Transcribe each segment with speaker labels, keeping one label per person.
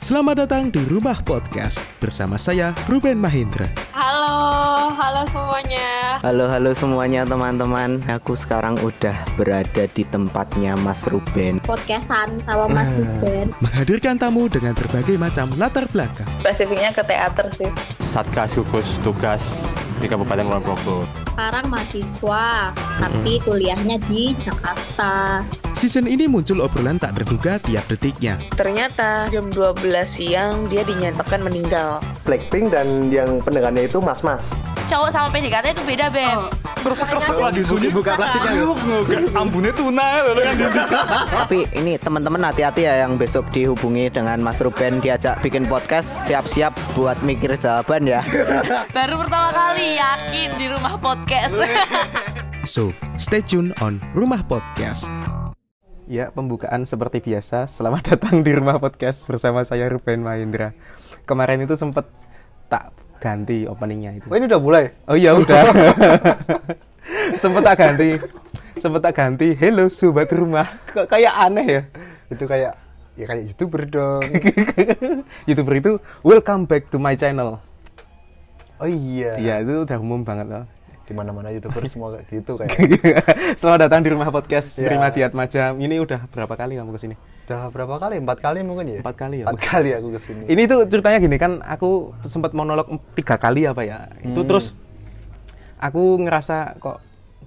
Speaker 1: Selamat datang di Rumah Podcast bersama saya Ruben Mahindra.
Speaker 2: Halo, halo semuanya.
Speaker 3: Halo halo semuanya teman-teman, aku sekarang udah berada di tempatnya Mas Ruben.
Speaker 4: podcastan sama Mas Ruben.
Speaker 1: Menghadirkan tamu dengan berbagai macam latar belakang.
Speaker 5: spesifiknya ke teater sih.
Speaker 6: Satgas gugus tugas di Kabupaten Kulon Progo.
Speaker 4: Sekarang mahasiswa, tapi kuliahnya di Jakarta.
Speaker 1: Season ini muncul obrolan tak terduga tiap detiknya.
Speaker 5: Ternyata jam 12 siang dia dinyatakan meninggal.
Speaker 7: Blackpink dan yang pendengarnya itu mas-mas.
Speaker 8: cowok sama PDKT itu beda Beb
Speaker 2: Oh,
Speaker 3: Tapi ini teman-teman hati-hati ya yang besok dihubungi dengan Mas Ruben diajak bikin podcast, siap-siap buat mikir jawaban ya.
Speaker 8: baru pertama kali yakin di rumah podcast
Speaker 1: So, stay tune on Rumah Podcast.
Speaker 9: Ya, pembukaan seperti biasa. Selamat datang di rumah podcast bersama saya Ruben Mahendra. Kemarin itu sempet tak ganti openingnya itu.
Speaker 7: Oh ini udah mulai.
Speaker 9: Oh iya udah. sempet tak ganti. Sempet tak ganti. Hello sobat rumah. Kok kayak aneh ya.
Speaker 7: Itu kayak ya kayak youtuber dong.
Speaker 9: Youtuber itu welcome back to my channel.
Speaker 7: Oh iya.
Speaker 9: Iya, itu udah umum banget loh.
Speaker 7: Di mana-mana youtuber semua kayak gitu kayak.
Speaker 9: Selamat datang di rumah podcast
Speaker 7: Ya.
Speaker 9: Terima Diat Majam. Ini udah berapa kali kamu kesini?
Speaker 7: Udah berapa kali? Empat kali mungkin ya.
Speaker 9: Empat kali ya?
Speaker 7: Empat
Speaker 9: Wah.
Speaker 7: kali aku kesini.
Speaker 9: ini tuh ceritanya gini kan aku sempat monolog em- tiga kali apa ya itu terus aku ngerasa kok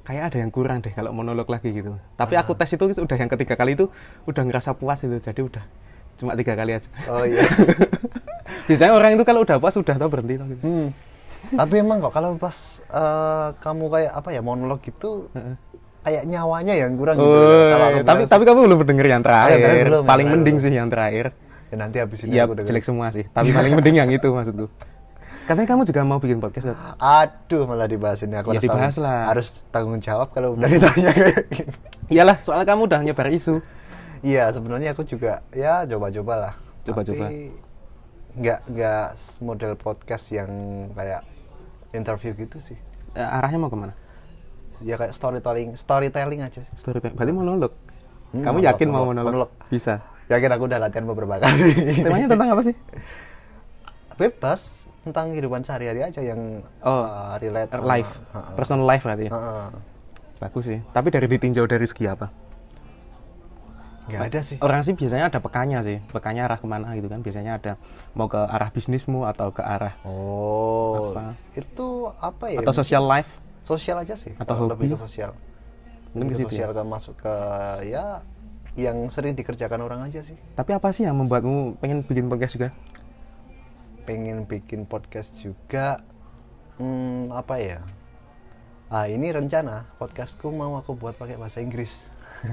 Speaker 9: kayak ada yang kurang deh kalau monolog lagi gitu tapi aku tes itu udah yang ketiga kali itu udah ngerasa puas itu jadi udah cuma tiga kali aja
Speaker 7: Oh iya.
Speaker 9: biasanya orang itu Kan kalau udah puas udah tau berhenti tau gitu.
Speaker 7: Hmm. Tapi emang kok kalau pas eh, kamu kayak apa ya monolog gitu kayak nyawanya yang kurang gitu.
Speaker 9: Woi,
Speaker 7: Kalau aku
Speaker 9: tapi
Speaker 7: dengar-
Speaker 9: tapi kamu belum mendengar yang
Speaker 7: yang terakhir
Speaker 9: terakhir
Speaker 7: belum,
Speaker 9: paling
Speaker 7: yang
Speaker 9: mending
Speaker 7: terakhir
Speaker 9: sih yang terakhir
Speaker 7: ya, nanti habis ini
Speaker 9: ya
Speaker 7: aku dengar.
Speaker 9: jelek semua sih tapi paling mending yang itu maksudku katanya kamu juga mau bikin podcast Dot.
Speaker 7: Aduh malah dibahas ini aku
Speaker 9: Ya,
Speaker 7: harus
Speaker 9: dibahas
Speaker 7: tanggung-
Speaker 9: lah. Hmm.
Speaker 7: harus tanggung jawab kalau udah ditanya kayak gini.
Speaker 9: iyalah soalnya kamu udah nyebar isu
Speaker 7: Iya, sebenarnya aku juga ya coba-coba lah.
Speaker 9: Coba-coba.
Speaker 7: Tapi Nggak nggak model podcast yang kayak interview gitu sih.
Speaker 9: Eh, arahnya mau kemana
Speaker 7: Ya kayak storytelling, storytelling aja sih.
Speaker 9: Storytelling. Berarti monolog.
Speaker 7: Hmm,
Speaker 9: Kamu
Speaker 7: monolog,
Speaker 9: yakin mau
Speaker 7: monolog,
Speaker 9: monolog?
Speaker 7: monolog.
Speaker 9: Bisa.
Speaker 7: Yakin aku udah latihan beberapa kali.
Speaker 9: Temanya tentang apa sih?
Speaker 7: Bebas tentang kehidupan sehari-hari aja yang
Speaker 9: Oh,
Speaker 7: uh, relate sama-
Speaker 9: Life.
Speaker 7: Heeh.
Speaker 9: Personal life berarti ya.
Speaker 7: Heeh.
Speaker 9: Bagus sih. Tapi dari ditinjau dari segi apa?
Speaker 7: Nggak ada sih.
Speaker 9: Orang sih biasanya ada pekanya sih. Pekanya arah kemana gitu kan. Biasanya ada mau ke arah bisnismu atau ke arah
Speaker 7: Oh.
Speaker 9: Apa?
Speaker 7: Itu apa ya?
Speaker 9: atau social life.
Speaker 7: sosial aja sih.
Speaker 9: Atau
Speaker 7: lebih ke
Speaker 9: hobi?
Speaker 7: sosial. Lebih ke
Speaker 9: Mungkin ke situ ya.
Speaker 7: sosial ke masuk ke ya yang sering dikerjakan orang aja sih.
Speaker 9: Tapi apa sih yang membuatmu pengen bikin podcast juga?
Speaker 7: pengen bikin podcast juga hmm, apa ya ah ini rencana podcastku mau aku buat pakai bahasa Inggris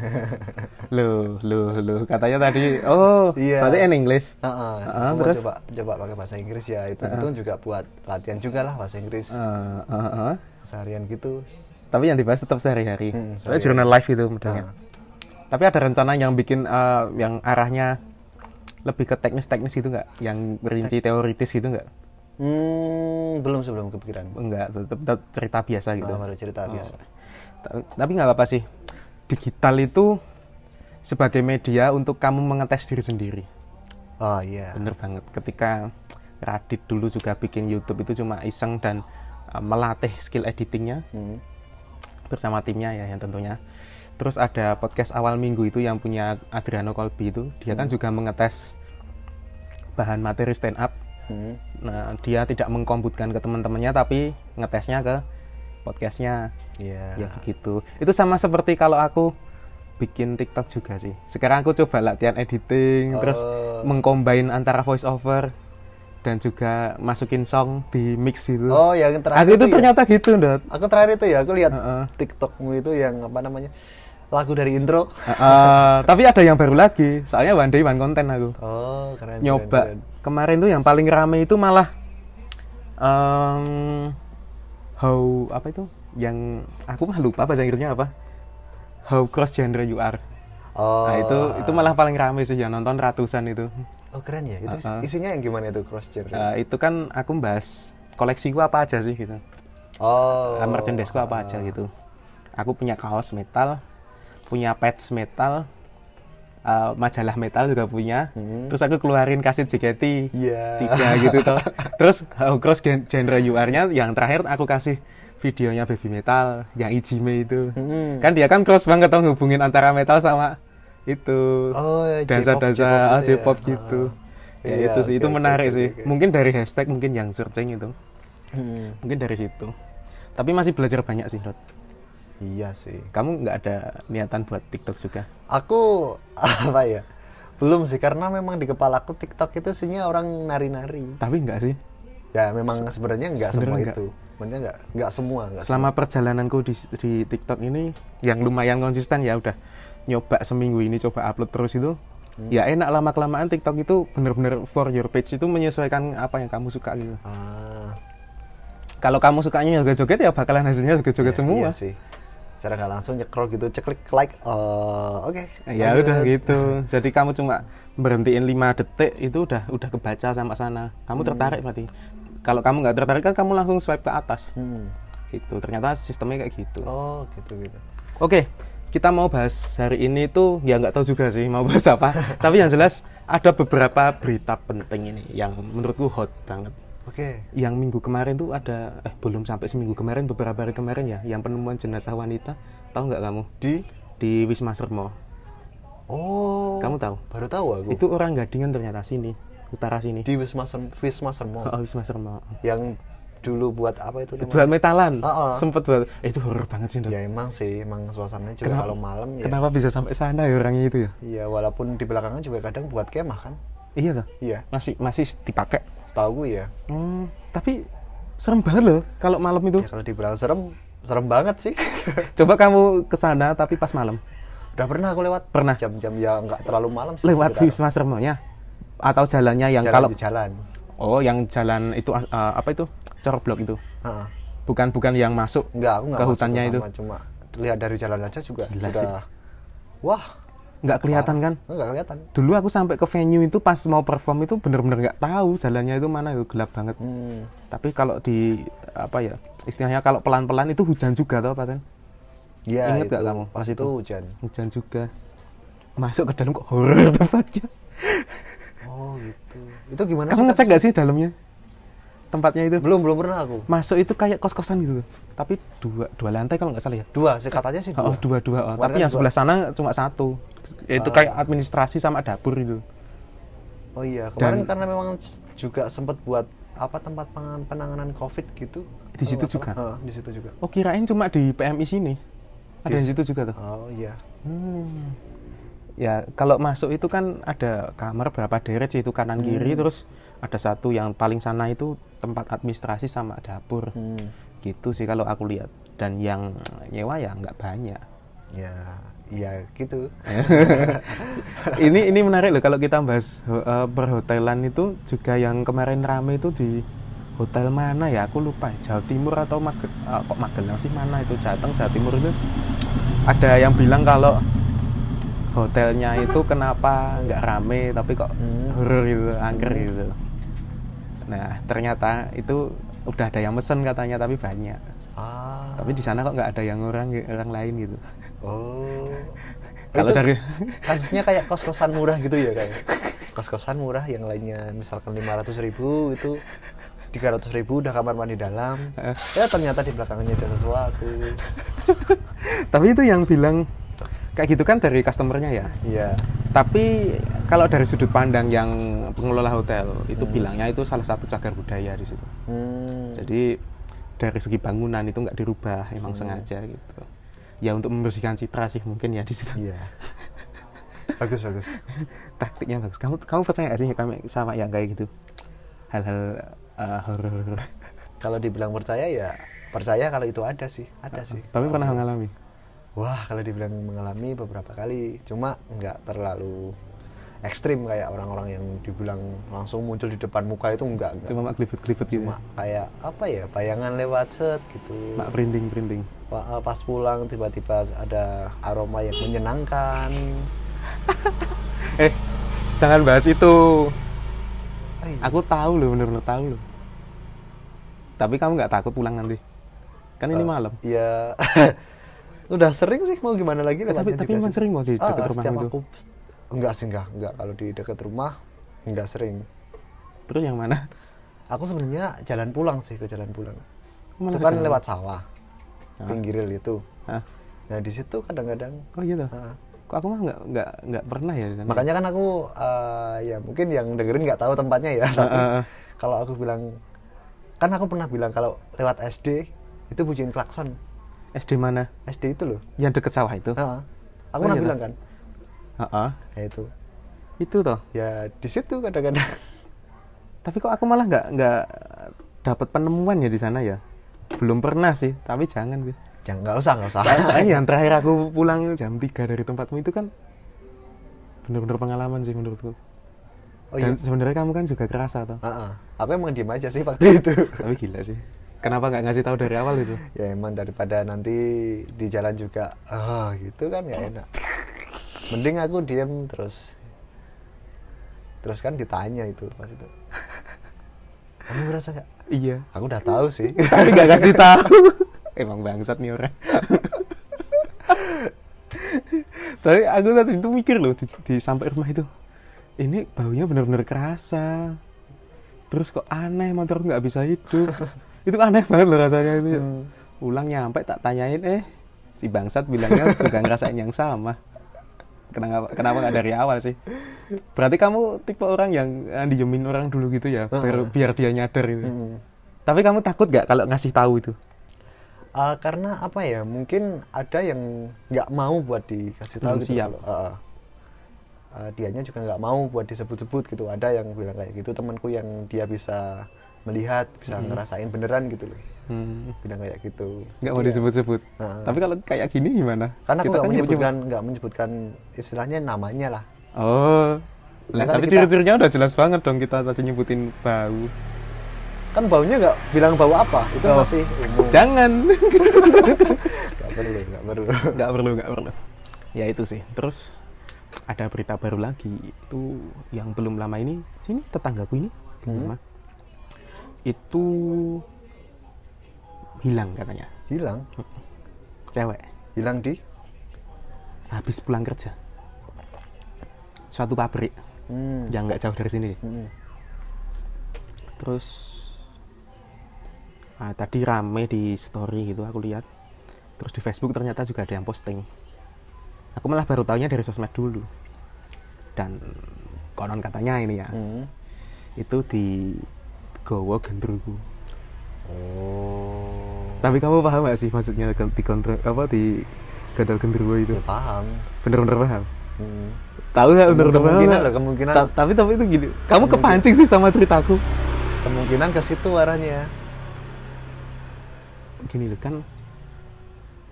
Speaker 9: Loh, loh, loh. Katanya tadi, oh,
Speaker 7: Iya.
Speaker 9: berarti in English.
Speaker 7: Ah, ah,
Speaker 9: Ah,
Speaker 7: aku mau
Speaker 9: terus? Ah,
Speaker 7: coba coba pakai bahasa Inggris ya itu itu juga buat latihan juga lah bahasa Inggris
Speaker 9: Eh, eh, eh.
Speaker 7: seharian gitu
Speaker 9: Tapi yang dibahas tetap sehari-hari.
Speaker 7: Hmm,
Speaker 9: Soalnya
Speaker 7: sehari-hari.
Speaker 9: jurnal live itu modelnya. Tapi ada rencana yang bikin eh, yang arahnya lebih ke teknis-teknis gitu nggak? Yang rinci teoritis gitu nggak?
Speaker 7: hmm, belum sebelum kepikiran
Speaker 9: Enggak, tetap, tetap cerita biasa gitu.
Speaker 7: Ah, baru cerita biasa
Speaker 9: Ta- Tapi nggak apa-apa sih. Digital itu sebagai media untuk kamu mengetes diri sendiri.
Speaker 7: oh iya
Speaker 9: Bener banget. Ketika Radit dulu juga bikin YouTube itu cuma iseng dan eh, melatih skill editingnya.
Speaker 7: Hmm.
Speaker 9: bersama timnya ya yang tentunya. Terus ada podcast awal minggu itu yang punya Adriano Colby itu, dia
Speaker 7: Hmm.
Speaker 9: kan juga mengetes bahan materi stand up.
Speaker 7: Hmm.
Speaker 9: Nah, dia tidak mengkombutkan ke teman-temannya tapi ngetesnya ke podcastnya.
Speaker 7: iya
Speaker 9: Ya begitu. Itu sama seperti kalau aku bikin TikTok juga sih. Sekarang aku coba latihan editing, terus
Speaker 7: Oh.
Speaker 9: mengcombine antara voice over dan juga masukin song di mix itu.
Speaker 7: oh yang terakhir
Speaker 9: aku itu
Speaker 7: ya?
Speaker 9: ternyata gitu, Dot.
Speaker 7: aku terakhir itu ya aku lihat
Speaker 9: Heeh.
Speaker 7: TikTokmu itu yang apa namanya lagu dari intro
Speaker 9: Heeh, tapi ada yang baru lagi. Soalnya one day one konten aku.
Speaker 7: oh keren keren,
Speaker 9: Nyoba.
Speaker 7: keren.
Speaker 9: Kemarin tuh yang paling rame itu malah em how apa itu? Yang aku mah lupa bahasa Inggrisnya apa. How cross gender you are.
Speaker 7: oh
Speaker 9: Nah, itu itu malah paling rame sih yang nonton ratusan itu.
Speaker 7: Oh keren ya, itu
Speaker 9: Ah,
Speaker 7: isinya yang gimana itu cross gender?
Speaker 9: Eh, itu kan aku bahas koleksiku apa aja sih gitu.
Speaker 7: oh,
Speaker 9: Eh, merchandise-ku apa aja gitu. Aku punya kaos metal, punya patch metal, eh, majalah metal juga punya. Terus aku keluarin kaset JKT
Speaker 7: Hmm. Iya.
Speaker 9: tiga gitu toh. Terus eh, cross gen- genre UR-nya yang terakhir aku kasih videonya Baby Metal yang Ijime itu.
Speaker 7: Hmm.
Speaker 9: Kan dia kan cross banget tau hubungin antara metal sama itu.
Speaker 7: Oh, ya,
Speaker 9: dansa-dansa
Speaker 7: J-pop gitu
Speaker 9: ah,
Speaker 7: ya.
Speaker 9: J-pop gitu. Ya,
Speaker 7: Iya,
Speaker 9: itu sih,
Speaker 7: oke,
Speaker 9: itu
Speaker 7: oke,
Speaker 9: menarik
Speaker 7: oke,
Speaker 9: sih.
Speaker 7: oke. Hmm.
Speaker 9: Mungkin dari hashtag mungkin yang searching itu. Mungkin dari situ. Tapi masih belajar banyak sih, Rod.
Speaker 7: Iya sih.
Speaker 9: Kamu nggak ada niatan buat TikTok juga?
Speaker 7: Aku apa ya? Belum sih karena memang di kepala aku TikTok itu isinya orang nari-nari.
Speaker 9: Tapi nggak sih.
Speaker 7: Ya memang sebenarnya nggak semua
Speaker 9: sebenarnya nggak.
Speaker 7: itu. Sebenarnya nggak nggak semua nggak
Speaker 9: Selama perjalananku di, di TikTok ini yang lumayan konsisten ya udah nyoba seminggu ini coba upload terus itu.
Speaker 7: Hmm.
Speaker 9: Ya enak lama kelamaan TikTok itu bener-bener for your page itu menyesuaikan apa yang kamu suka gitu.
Speaker 7: semua. Ah,
Speaker 9: Kalau kamu sukanya joget-joget ya bakalan hasilnya joget-joget semua.
Speaker 7: Iya sih. Secara nggak langsung nyekrol gitu, ceklik like. Oh, oke.
Speaker 9: Ya
Speaker 7: lanjut.
Speaker 9: udah gitu. Jadi kamu cuma berhentiin 5 detik itu udah udah kebaca sama sana. Kamu
Speaker 7: Hmm.
Speaker 9: tertarik berarti. Kalau kamu nggak tertarik kan kamu langsung swipe ke atas.
Speaker 7: Hmm.
Speaker 9: Gitu. Ternyata sistemnya kayak gitu.
Speaker 7: Oh, gitu gitu.
Speaker 9: Oke, kita mau bahas hari ini tuh ya nggak tahu juga sih mau bahas apa. Tapi yang jelas ada beberapa berita penting ini yang menurutku hot banget.
Speaker 7: Oke.
Speaker 9: Yang minggu kemarin tuh ada eh belum sampai seminggu kemarin beberapa hari kemarin ya yang penemuan jenazah wanita tahu nggak kamu
Speaker 7: Di
Speaker 9: di Wisma Sermo.
Speaker 7: Oh,
Speaker 9: Kamu tahu?
Speaker 7: baru tahu aku.
Speaker 9: Itu orang Gadingan ternyata sini, utara sini.
Speaker 7: di Wisma Sem- Wisma Sermo
Speaker 9: Oh, Wisma Sermo.
Speaker 7: yang dulu buat apa itu namanya?
Speaker 9: Buat metalan,
Speaker 7: Oh, oh.
Speaker 9: sempet buat. Eh, itu horor banget sih. Dok.
Speaker 7: Ya emang sih, emang suasananya juga
Speaker 9: Kenapa-
Speaker 7: kalau malam ya.
Speaker 9: Kenapa bisa sampai sana ya orangnya itu ya?
Speaker 7: Iya, walaupun di belakangnya juga kadang buat kemah kan.
Speaker 9: Iya loh.
Speaker 7: Iya,
Speaker 9: Masih masih dipakai.
Speaker 7: setahu gue ya.
Speaker 9: Hmm, tapi serem banget loh kalau malam itu.
Speaker 7: Ya kalau dibilang serem, serem banget sih.
Speaker 9: Coba kamu ke sana tapi pas malam.
Speaker 7: Udah pernah aku lewat
Speaker 9: Pernah.
Speaker 7: jam-jam ya nggak terlalu malam sih.
Speaker 9: Nah. Lewat
Speaker 7: sekitar
Speaker 9: Wisma Sermonya atau jalannya yang
Speaker 7: jalan
Speaker 9: kalau
Speaker 7: di jalan.
Speaker 9: oh yang jalan itu eh, apa itu? Corblok itu.
Speaker 7: Heeh.
Speaker 9: Bukan bukan yang masuk
Speaker 7: Enggak, aku enggak
Speaker 9: ke hutannya itu.
Speaker 7: cuma lihat dari jalan aja juga
Speaker 9: Gila
Speaker 7: sudah wah,
Speaker 9: Nggak kelihatan kan?
Speaker 7: enggak kelihatan.
Speaker 9: Dulu aku sampai ke venue itu pas mau perform itu bener-bener nggak tahu jalannya itu mana itu gelap banget.
Speaker 7: Hmm.
Speaker 9: Tapi kalau di apa ya istilahnya kalau pelan-pelan itu hujan juga tau pasan.
Speaker 7: Iya,
Speaker 9: Ingat nggak
Speaker 7: itu.
Speaker 9: kamu
Speaker 7: Pas
Speaker 9: pas
Speaker 7: itu
Speaker 9: itu?
Speaker 7: hujan.
Speaker 9: Hujan juga. Masuk ke dalam kok horor tempatnya.
Speaker 7: Oh, gitu. Itu gimana
Speaker 9: Kamu
Speaker 7: sih,
Speaker 9: ngecek nggak sih dalamnya? Tempatnya itu.
Speaker 7: Kak? Belum, belum pernah aku.
Speaker 9: Masuk itu kayak kos-kosan gitu. Tapi dua dua lantai kalau nggak salah ya.
Speaker 7: Dua, sih katanya sih
Speaker 9: Oh,
Speaker 7: dua.
Speaker 9: dua dua. oh.
Speaker 7: Kemarin
Speaker 9: Tapi yang
Speaker 7: dua.
Speaker 9: sebelah sana cuma satu. Itu kayak administrasi sama dapur gitu. itu.
Speaker 7: Oh iya, kemarin
Speaker 9: Dan-
Speaker 7: karena memang s- juga sempat buat apa tempat pengan- penanganan COVID gitu.
Speaker 9: Di
Speaker 7: Kalau nggak
Speaker 9: situ juga?
Speaker 7: salah. Heeh, di situ juga.
Speaker 9: Oh, kirain cuma di PMI sini. Ada yang situ juga tuh.
Speaker 7: Oh iya.
Speaker 9: Ya, kalau masuk itu kan ada kamar berapa deret sih itu kanan kiri terus ada satu yang paling sana itu tempat administrasi sama dapur. Gitu sih kalau aku lihat. Dan yang nyewa ya nggak banyak.
Speaker 7: Ya, iya gitu.
Speaker 9: ini ini menarik loh kalau kita bahas ho- eh, perhotelan itu juga yang kemarin rame itu di hotel mana ya aku lupa Jawa Timur atau Mage- eh, kok Magelang sih mana itu Jateng Jawa Timur itu ada yang bilang kalau hotelnya itu kenapa nggak rame tapi kok
Speaker 7: Hmm.
Speaker 9: horor gitu angker gitu nah ternyata itu udah ada yang mesen katanya tapi banyak
Speaker 7: Ah.
Speaker 9: tapi di sana kok nggak ada yang orang orang lain gitu
Speaker 7: Oh. Itu
Speaker 9: Kalau dari-
Speaker 7: kasusnya kayak kos-kosan murah gitu ya kayak. Kos-kosan murah yang lainnya misalkan 500.000 ribu itu 300.000 ribu udah kamar mandi dalam. Ya ternyata di belakangnya ada sesuatu.
Speaker 9: tapi itu yang bilang kayak gitu kan dari customernya ya
Speaker 7: Iya.
Speaker 9: Tapi kalau dari sudut pandang yang pengelola hotel itu bilangnya itu salah satu cagar budaya di situ.
Speaker 7: Hmm.
Speaker 9: Jadi dari segi bangunan itu nggak dirubah, emang
Speaker 7: Hmm.
Speaker 9: sengaja gitu. Ya untuk membersihkan citra sih mungkin ya di situ.
Speaker 7: Iya. Bagus bagus.
Speaker 9: Taktiknya bagus. Kamu kamu percaya nggak sih kami sama yang kayak gitu? Hal-hal eh, horor.
Speaker 7: Kalau dibilang percaya ya percaya kalau itu ada sih, ada Iya sih.
Speaker 9: Tapi pernah mengalami.
Speaker 7: Wah, kalau dibilang mengalami beberapa kali, cuma nggak terlalu ekstrim kayak orang-orang yang dibilang langsung muncul di depan muka itu nggak nggak.
Speaker 9: Cuma mak gelibet-gelibet
Speaker 7: Iya.
Speaker 9: gitu.
Speaker 7: cuma kayak apa ya bayangan lewat set gitu
Speaker 9: Mak printing-printing.
Speaker 7: Pa- eh, pas pulang tiba-tiba ada aroma yang menyenangkan
Speaker 9: Eh, jangan bahas
Speaker 7: Oh,
Speaker 9: itu.
Speaker 7: Ay,
Speaker 9: Aku tahu loh, bener-bener tahu loh. Tapi kamu nggak takut pulang nanti? Kan ini malam.
Speaker 7: ya udah sering sih mau gimana lagi
Speaker 9: Eh, tapi
Speaker 7: lewatnya
Speaker 9: tapi
Speaker 7: juga
Speaker 9: emang
Speaker 7: sih.
Speaker 9: sering mau di
Speaker 7: Ah,
Speaker 9: dekat rumah
Speaker 7: setiap
Speaker 9: itu.
Speaker 7: aku enggak sih enggak enggak kalau di dekat rumah enggak sering
Speaker 9: Terus yang mana?
Speaker 7: aku sebenarnya jalan pulang sih ke jalan pulang
Speaker 9: Malah
Speaker 7: itu
Speaker 9: ke
Speaker 7: kan
Speaker 9: jalan. Nah.
Speaker 7: lewat sawah pinggir rel itu
Speaker 9: Hah?
Speaker 7: nah di situ kadang-kadang
Speaker 9: Kok gitu?
Speaker 7: Ah.
Speaker 9: Kok aku mah nggak nggak nggak pernah ya. Dan-
Speaker 7: makanya kan aku eh, ya mungkin yang dengerin nggak tahu tempatnya ya tapi kalau aku bilang kan aku pernah bilang kalau lewat SD itu bunyiin klakson
Speaker 9: SD mana?
Speaker 7: SD itu loh
Speaker 9: Yang deket sawah itu?
Speaker 7: Ah, aku
Speaker 9: Oh,
Speaker 7: pernah
Speaker 9: iya,
Speaker 7: bilang
Speaker 9: Pak.
Speaker 7: kan
Speaker 9: Heeh.
Speaker 7: ya itu
Speaker 9: Itu toh.
Speaker 7: ya di situ kadang-kadang
Speaker 9: Tapi kok aku malah nggak nggak dapat penemuan ya di sana ya. Belum pernah sih. Tapi jangan gitu.
Speaker 7: jangan Ya, nggak usah nggak usah
Speaker 9: Soalnya yang terakhir aku pulang jam 3 dari tempatmu itu kan bener-bener pengalaman sih menurutku.
Speaker 7: oh iya
Speaker 9: Dan sebenarnya kamu kan juga kerasa toh.
Speaker 7: Ah, ah. aku emang diem aja sih waktu itu
Speaker 9: Tapi gila sih. Kenapa nggak ngasih tahu dari awal itu?
Speaker 7: ya emang daripada nanti di jalan juga ah gitu kan nggak enak mending aku diem terus terus kan ditanya itu pas itu kamu ngerasa nggak
Speaker 9: Iya.
Speaker 7: aku udah tahu sih
Speaker 9: Tapi nggak kasih tahu. Emang bangsat nih orang. Tapi aku tadi itu mikir loh di, di sampai rumah itu. Ini baunya bener-bener kerasa. Terus kok aneh motor nggak bisa hidup. itu aneh banget loh rasanya itu. Pulang nyampe tak tanyain eh si bangsat bilangnya suka ngerasain yang sama. Kenapa kenapa nggak dari awal sih? Berarti kamu tipe orang yang eh, dijamin orang dulu gitu ya, biar, biar dia nyadar gitu. Tapi kamu takut gak kalau ngasih tahu itu?
Speaker 7: Ah, karena apa ya mungkin ada yang nggak mau buat dikasih tahu
Speaker 9: Belum
Speaker 7: gitu
Speaker 9: siap.
Speaker 7: loh. Ah, ah. Ah, dianya juga nggak mau buat disebut-sebut gitu ada yang bilang kayak gitu temanku yang dia bisa melihat bisa ngerasain beneran gitu loh bilang kayak gitu
Speaker 9: Nggak mau disebut-sebut.
Speaker 7: Nah.
Speaker 9: Tapi kalau kayak gini gimana?
Speaker 7: karena aku
Speaker 9: Kita
Speaker 7: nggak
Speaker 9: kan cuma-
Speaker 7: menyebutkan nggak menyebutkan istilahnya namanya lah
Speaker 9: Oh. Lah,
Speaker 7: Karena
Speaker 9: tapi
Speaker 7: kita-
Speaker 9: ciri-cirinya udah jelas banget dong kita tadi nyebutin bau.
Speaker 7: kan baunya nggak bilang bau apa itu
Speaker 9: Oh.
Speaker 7: masih umum
Speaker 9: Jangan.
Speaker 7: nggak perlu nggak perlu
Speaker 9: nggak perlu, nggak perlu. Ya itu sih. Terus ada berita baru lagi itu yang belum lama ini sini tetanggaku ini di rumah. itu hilang katanya
Speaker 7: hilang
Speaker 9: cewek
Speaker 7: hilang di
Speaker 9: habis pulang kerja suatu pabrik
Speaker 7: hmm.
Speaker 9: yang nggak jauh dari sini
Speaker 7: Mm-mm.
Speaker 9: terus ah, tadi rame di story gitu aku lihat terus di Facebook ternyata juga ada yang posting aku malah baru tahunya dari sosmed dulu dan konon katanya ini ya
Speaker 7: Hmm.
Speaker 9: itu di Gowo Gendruwo
Speaker 7: oh
Speaker 9: tapi kamu paham gak sih maksudnya gen- di kontrol apa di Gendal Gendruwo itu
Speaker 7: ya paham
Speaker 9: bener-bener paham
Speaker 7: Hmm.
Speaker 9: tahu nggak bener-bener paham
Speaker 7: kemungkinan
Speaker 9: nggak?
Speaker 7: loh kemungkinan
Speaker 9: Ta- tapi tapi itu gini kamu kepancing sih sama ceritaku
Speaker 7: kemungkinan ke situ arahnya
Speaker 9: gini loh kan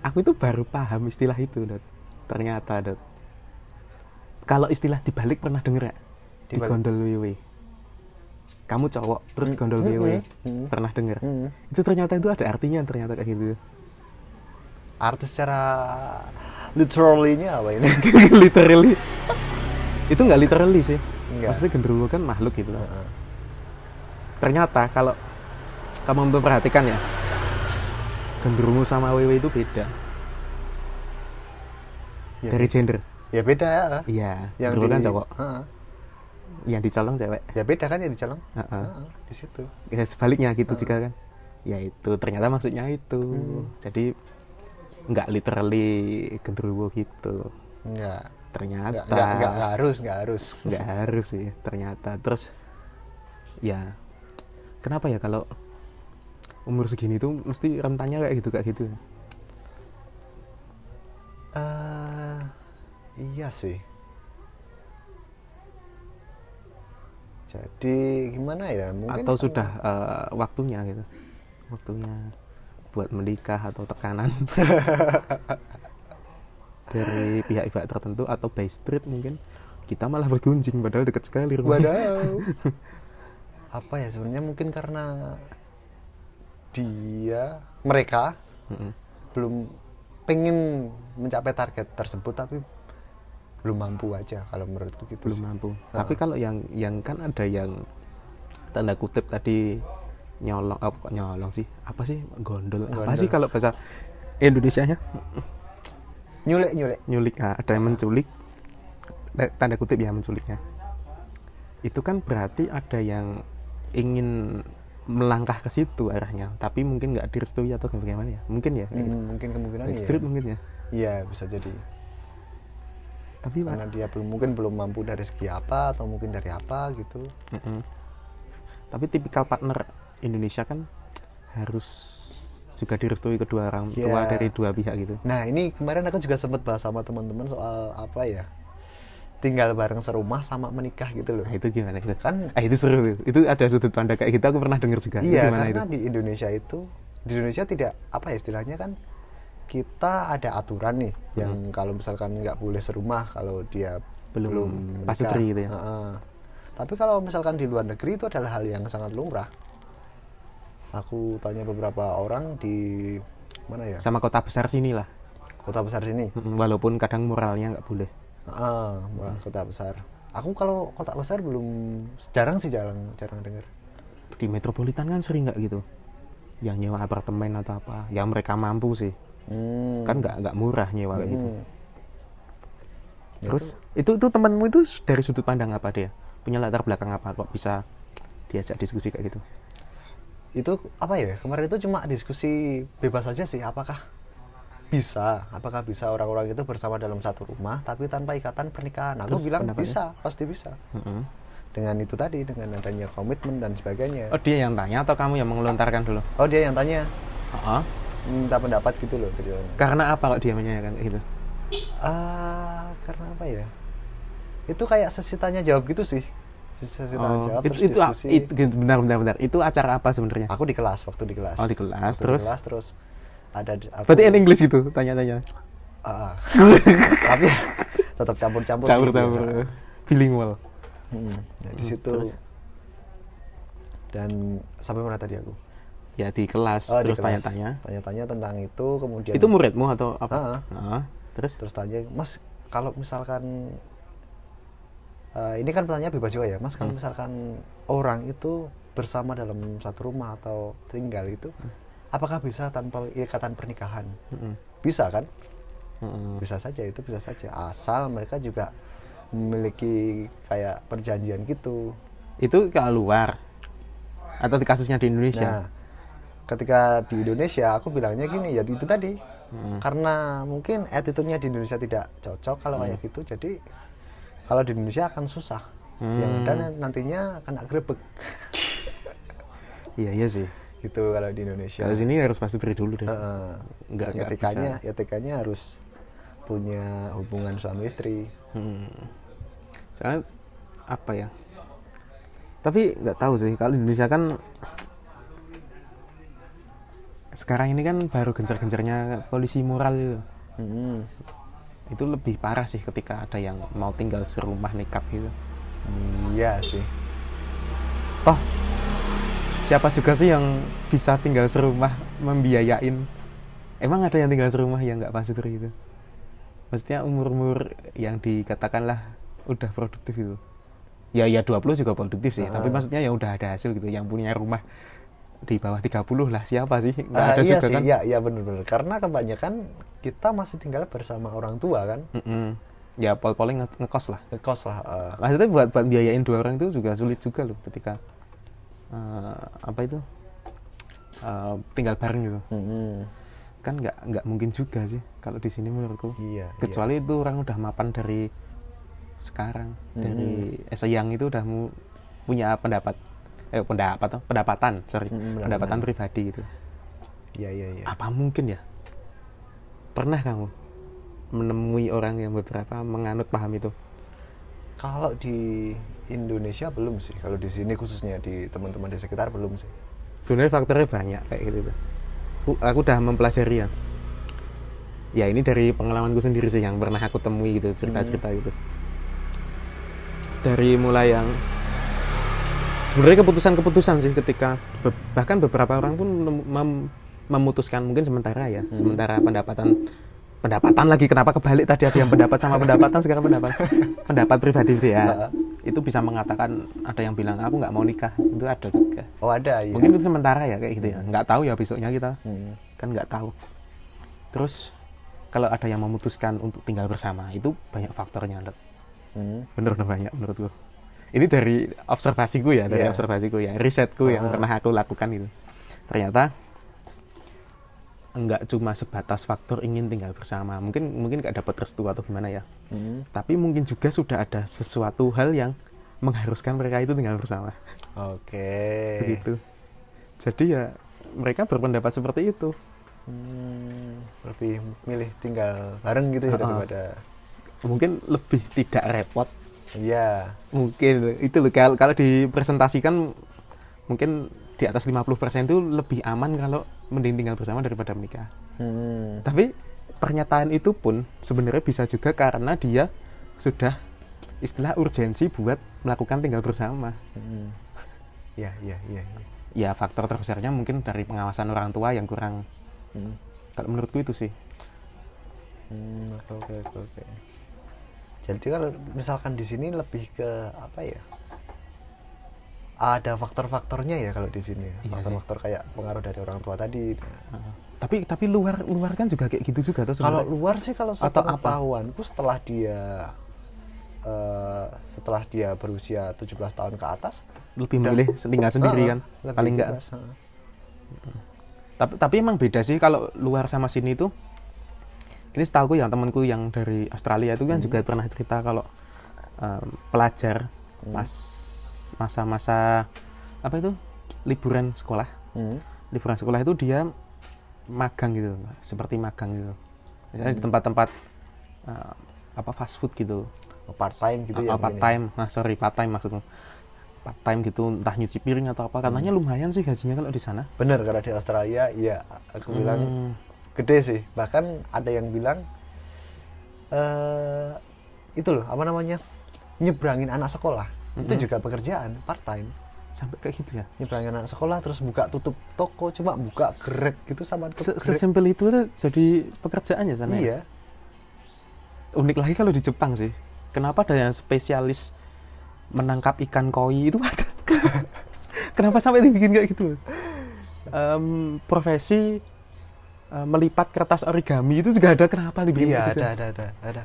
Speaker 9: aku itu baru paham istilah itu Dot. ternyata Dot. kalau istilah dibalik pernah denger ya di
Speaker 7: Dibalik.
Speaker 9: gondol wewe kamu cowok terus gondol wewe pernah denger
Speaker 7: Hmm.
Speaker 9: itu ternyata itu ada artinya ternyata kayak gitu
Speaker 7: artis secara literally-nya apa ini
Speaker 9: literally itu nggak literally sih
Speaker 7: Nggak.
Speaker 9: maksudnya genderuwo kan makhluk gitu loh ternyata kalau kamu memperhatikan ya genderuwo sama wewe itu beda
Speaker 7: Ya,
Speaker 9: dari gender
Speaker 7: ya beda ya
Speaker 9: Iya,
Speaker 7: yang
Speaker 9: yang dulu
Speaker 7: di
Speaker 9: kan cowok,
Speaker 7: Heeh.
Speaker 9: yang dicolong cewek.
Speaker 7: ya beda kan yang di Celeng
Speaker 9: Heeh.
Speaker 7: Heeh, di situ
Speaker 9: Ya, sebaliknya gitu juga kan. Ya itu ternyata maksudnya itu. Jadi nggak literally genderuwo gitu.
Speaker 7: enggak enggak
Speaker 9: Ternyata
Speaker 7: enggak enggak enggak harus enggak harus
Speaker 9: nggak harus sih ternyata. Terus ya kenapa ya kalau umur segini tuh mesti rentannya kayak gitu kayak gitu.
Speaker 7: Eh, iya sih. Jadi gimana ya? Mungkin
Speaker 9: Atau sudah eh, waktunya gitu. Waktunya buat menikah atau tekanan dari pihak-pihak tertentu atau by street mungkin kita malah bergunjing padahal dekat sekali rumahnya.
Speaker 7: Wadaw. apa ya sebenarnya mungkin karena dia mereka belum pengen mencapai target tersebut tapi belum mampu aja kalau menurutku gitu
Speaker 9: belum
Speaker 7: sih.
Speaker 9: mampu. Tapi kalau yang yang kan ada yang tanda kutip tadi nyolong apa kok nyolong sih? Apa sih gondol? Apa sih kalau bahasa Indonesianya?
Speaker 7: nyulek nyulek
Speaker 9: Nyulik ah, ada yang menculik tanda kutip ya mensulitnya itu kan berarti ada yang ingin melangkah ke situ arahnya tapi mungkin nggak direstui atau bagaimana ya mungkin ya
Speaker 7: Mm, mungkin kemungkinan ya.
Speaker 9: Backstreet mungkin ya
Speaker 7: Iya bisa jadi
Speaker 9: tapi
Speaker 7: karena dia belum mungkin belum mampu dari segi apa atau mungkin dari apa gitu.
Speaker 9: Mm-mm. Tapi tipikal partner Indonesia kan harus juga direstui kedua orang tua
Speaker 7: Iya.
Speaker 9: dari dua pihak gitu.
Speaker 7: Nah ini kemarin aku juga sempat bahas sama teman-teman soal apa ya tinggal bareng serumah sama menikah gitu loh.
Speaker 9: Nah, itu gimana itu?
Speaker 7: Kan-
Speaker 9: ah, itu seru. itu. Itu ada sudut pandang kayak gitu aku pernah dengar juga. Itu
Speaker 7: Iya
Speaker 9: gimana
Speaker 7: karena
Speaker 9: itu?
Speaker 7: di Indonesia itu di Indonesia tidak apa ya istilahnya kan kita ada aturan nih yang kalau misalkan nggak boleh serumah kalau dia
Speaker 9: Hmm. Belum
Speaker 7: belum menikah.
Speaker 9: pasutri gitu ya.
Speaker 7: Heeh. Tapi kalau misalkan di luar negeri itu adalah hal yang sangat lumrah. Aku tanya beberapa orang di mana ya
Speaker 9: Sama kota besar sini lah.
Speaker 7: kota besar sini,
Speaker 9: Mm-mm, Walaupun kadang moralnya nggak boleh.
Speaker 7: Heeh, wah,
Speaker 9: Hmm.
Speaker 7: kota besar. Aku kalau kota besar belum jarang sih jarang jarang dengar.
Speaker 9: Di metropolitan kan sering nggak gitu. Yang nyewa apartemen atau apa? Yang mereka mampu sih.
Speaker 7: Hmm.
Speaker 9: Kan nggak nggak murah nyewa kayak gitu. Terus itu itu temanmu itu dari sudut pandang apa dia? Punya latar belakang apa kok bisa diajak diskusi kayak gitu?
Speaker 7: itu apa ya kemarin itu cuma diskusi bebas aja sih apakah bisa apakah bisa orang-orang itu bersama dalam satu rumah tapi tanpa ikatan pernikahan aku
Speaker 9: Terus
Speaker 7: bilang
Speaker 9: pendapatnya?
Speaker 7: bisa pasti bisa
Speaker 9: Mm-mm.
Speaker 7: dengan itu tadi dengan adanya komitmen dan sebagainya
Speaker 9: Oh dia yang tanya atau kamu yang mengelontarkan dulu?
Speaker 7: oh dia yang tanya
Speaker 9: Heeh.
Speaker 7: minta pendapat gitu loh dari orang.
Speaker 9: Karena apa kok dia menanyakan kayak gitu?
Speaker 7: ah karena apa ya itu kayak sesitanya jawab gitu sih sesi tanya
Speaker 9: Oh,
Speaker 7: jawab
Speaker 9: itu
Speaker 7: terus
Speaker 9: itu,
Speaker 7: diskusi
Speaker 9: itu- gitu, bentar bentar bentar. Itu acara apa sebenarnya?
Speaker 7: aku di kelas waktu di kelas
Speaker 9: Oh, di kelas,
Speaker 7: Waktu di
Speaker 9: terus?
Speaker 7: kelas terus ada aku-
Speaker 9: Berarti in English gitu tanya-tanya.
Speaker 7: Ah, ah. tapi tetap campur-campur sih. ya.
Speaker 9: Campur-campur. Bilingual.
Speaker 7: Hmm, ya, di situ dan sampai mana tadi aku
Speaker 9: Ya di kelas
Speaker 7: Oh, di
Speaker 9: terus
Speaker 7: kelas.
Speaker 9: tanya-tanya.
Speaker 7: tanya-tanya tentang itu kemudian
Speaker 9: Itu muridmu atau
Speaker 7: Ah,
Speaker 9: apa? Heeh. Terus
Speaker 7: terus tanya mas kalau misalkan eh, ini kan pertanyaan bebas juga ya mas kalau misalkan orang itu bersama dalam satu rumah atau tinggal itu apakah bisa tanpa ikatan pernikahan bisa kan
Speaker 9: Mm-mm.
Speaker 7: bisa saja itu bisa saja asal mereka juga memiliki kayak perjanjian gitu
Speaker 9: itu ke luar atau di kasusnya di Indonesia?
Speaker 7: Nah, ketika di Indonesia aku bilangnya gini ya itu tadi.
Speaker 9: Hmm.
Speaker 7: Karena mungkin attitude-nya di Indonesia tidak cocok kalau kayak
Speaker 9: Hmm.
Speaker 7: gitu. Jadi kalau di Indonesia akan susah. Yang
Speaker 9: Hmm.
Speaker 7: ada nantinya kena grebek
Speaker 9: Iya iya sih.
Speaker 7: gitu kalau di Indonesia.
Speaker 9: Kalau sini harus pasti beri dulu deh.
Speaker 7: Heeh.
Speaker 9: Nggak- nggak
Speaker 7: etikanya, etikanya harus punya hubungan suami istri.
Speaker 9: soalnya apa ya tapi nggak tahu sih kalau Indonesia kan sekarang ini kan baru gencar-gencarnya polisi moral itu
Speaker 7: Mm-mm.
Speaker 9: itu lebih parah sih ketika ada yang mau tinggal serumah nikah gitu
Speaker 7: Iya sih.
Speaker 9: toh siapa juga sih yang bisa tinggal serumah membiayain emang ada yang tinggal serumah yang nggak pasutri itu maksudnya umur-umur yang dikatakanlah udah produktif itu ya ya 20 juga produktif sih
Speaker 7: Ah.
Speaker 9: tapi maksudnya yang udah ada hasil gitu yang punya rumah di bawah 30 lah siapa sih nggak
Speaker 7: Ah,
Speaker 9: ada
Speaker 7: iya
Speaker 9: juga
Speaker 7: sih,
Speaker 9: kan
Speaker 7: iya, iya benar-benar. Karena kebanyakan kita masih tinggal bersama orang tua kan.
Speaker 9: Mm-mm. ya pol-polnya nge- ngekos lah
Speaker 7: Ngekos lah. eh.
Speaker 9: maksudnya buat buat biayain dua orang itu juga sulit juga loh ketika eh, apa itu Eh, tinggal bareng gitu
Speaker 7: Mm-mm.
Speaker 9: kan nggak nggak mungkin juga sih kalau di sini menurutku
Speaker 7: Iya, iya.
Speaker 9: kecuali itu orang udah mapan dari sekarang dari
Speaker 7: Mm-hmm.
Speaker 9: sayang itu udah mu- punya pendapat eh pendapat toh, pendapatan sorry
Speaker 7: Mm,
Speaker 9: pendapatan pribadi gitu
Speaker 7: Iya iya iya.
Speaker 9: apa mungkin ya pernah kamu menemui orang yang beberapa menganut paham itu
Speaker 7: Kalau di Indonesia belum sih. Kalau di sini khususnya di teman-teman di sekitar belum sih.
Speaker 9: sebenarnya faktornya banyak kayak gitu tuh. aku, aku udah mempelajari ya ya ini dari pengalamanku sendiri sih yang pernah aku temui gitu cerita-cerita gitu dari mulai yang sebenarnya keputusan-keputusan sih ketika be- bahkan beberapa orang pun mem- mem- memutuskan mungkin sementara ya sementara pendapatan pendapatan lagi kenapa kebalik tadi ada yang pendapat sama pendapatan sekarang pendapat pendapat pribadi gitu ya itu bisa mengatakan ada yang bilang aku nggak mau nikah itu ada juga
Speaker 7: Oh ada iya.
Speaker 9: mungkin itu sementara ya kayak gitu ya nggak tahu ya besoknya kita
Speaker 7: Hmm.
Speaker 9: kan nggak tahu terus kalau ada yang memutuskan untuk tinggal bersama itu banyak faktornya Let.
Speaker 7: Hmm.
Speaker 9: bener udah banyak menurutku ini dari observasiku ya dari
Speaker 7: Iya. Ah.
Speaker 9: observasiku ya risetku yang pernah aku lakukan itu ternyata enggak cuma sebatas faktor ingin tinggal bersama mungkin mungkin nggak dapat restu atau gimana ya
Speaker 7: Hmm.
Speaker 9: tapi mungkin juga sudah ada sesuatu hal yang mengharuskan mereka itu tinggal bersama
Speaker 7: Oke.
Speaker 9: begitu jadi ya mereka berpendapat seperti itu
Speaker 7: Lebih milih tinggal bareng gitu ya daripada
Speaker 9: mungkin lebih tidak repot
Speaker 7: Iya.
Speaker 9: mungkin itu loh kalau, kalau dipresentasikan mungkin di atas 50% itu lebih aman kalau mending tinggal bersama daripada menikah
Speaker 7: Hmm.
Speaker 9: tapi pernyataan itu pun sebenarnya bisa juga karena dia sudah istilah urgensi buat melakukan tinggal bersama
Speaker 7: Hmm. Iya, iya, iya. iya.
Speaker 9: ya faktor terbesarnya mungkin dari pengawasan orang tua yang kurang kalau menurutku itu sih
Speaker 7: Hmm, oke oke oke. oke. Jadi kalau misalkan di sini lebih ke apa ya? Ada faktor-faktornya ya kalau di sini.
Speaker 9: sih.
Speaker 7: Faktor-faktor kayak pengaruh dari orang tua tadi.
Speaker 9: Heeh. tapi tapi luar luar kan juga kayak gitu juga tuh
Speaker 7: Kalau
Speaker 9: sebenarnya.
Speaker 7: luar sih kalau
Speaker 9: Atau apa?
Speaker 7: sepengetahuanku setelah dia eh, setelah dia berusia 17 tahun ke atas
Speaker 9: lebih memilih tinggal sendiri
Speaker 7: Ah,
Speaker 9: kan
Speaker 7: lebih
Speaker 9: paling enggak
Speaker 7: bebas, heeh.
Speaker 9: tapi tapi emang beda sih kalau luar sama sini itu ini setahu yang temanku yang dari Australia itu
Speaker 7: Hmm.
Speaker 9: kan juga pernah cerita kalau em, pelajar
Speaker 7: Hmm.
Speaker 9: pas masa-masa apa itu liburan sekolah
Speaker 7: Hmm.
Speaker 9: liburan sekolah itu dia magang gitu seperti magang gitu misalnya di tempat-tempat eh, apa fast food gitu
Speaker 7: part time gitu ya
Speaker 9: Ah, part
Speaker 7: mungkin ya.
Speaker 9: time nah sorry part time maksudku part time gitu entah nyuci piring atau apa
Speaker 7: Hmm.
Speaker 9: katanya lumayan sih gajinya kalau di sana
Speaker 7: Bener kalau di Australia, iya aku bilang
Speaker 9: Hmm.
Speaker 7: gede sih. Bahkan ada yang bilang eh itu loh apa namanya nyebrangin anak sekolah
Speaker 9: Hmm.
Speaker 7: itu juga pekerjaan part time.
Speaker 9: sampai kayak gitu ya
Speaker 7: Nyebrangin anak sekolah terus buka tutup toko cuma buka grek gitu sama tutup
Speaker 9: Se-
Speaker 7: grek.
Speaker 9: Sesimpel itu tuh jadi pekerjaannya sana. ya?
Speaker 7: Iya.
Speaker 9: Unik lagi kalau di Jepang sih. Kenapa ada yang spesialis menangkap ikan koi itu ada? Kenapa sampai dibikin kayak gitu? Em, profesi eh, melipat kertas origami itu juga ada. Kenapa dibikin
Speaker 7: Iya
Speaker 9: kayak gitu?
Speaker 7: ada ada ada ada.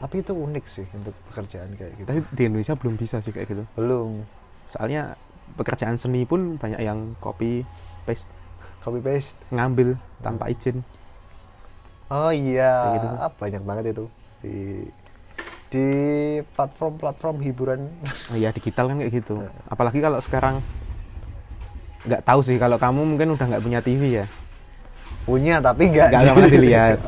Speaker 7: Tapi itu unik sih untuk pekerjaan kayak gitu.
Speaker 9: Tapi di Indonesia belum bisa sih kayak gitu.
Speaker 7: Belum
Speaker 9: Soalnya pekerjaan seni pun banyak yang copy paste
Speaker 7: copy paste.
Speaker 9: ngambil
Speaker 7: Hmm.
Speaker 9: tanpa izin.
Speaker 7: Oh iya,
Speaker 9: Kayak gitu kan.
Speaker 7: Ah, banyak banget itu di di platform-platform hiburan
Speaker 9: Oh Iya digital kan kayak gitu. Apalagi kalau sekarang nggak tahu sih kalau kamu mungkin udah nggak punya TV ya,
Speaker 7: punya tapi nggak
Speaker 9: nggak pernah dilihat.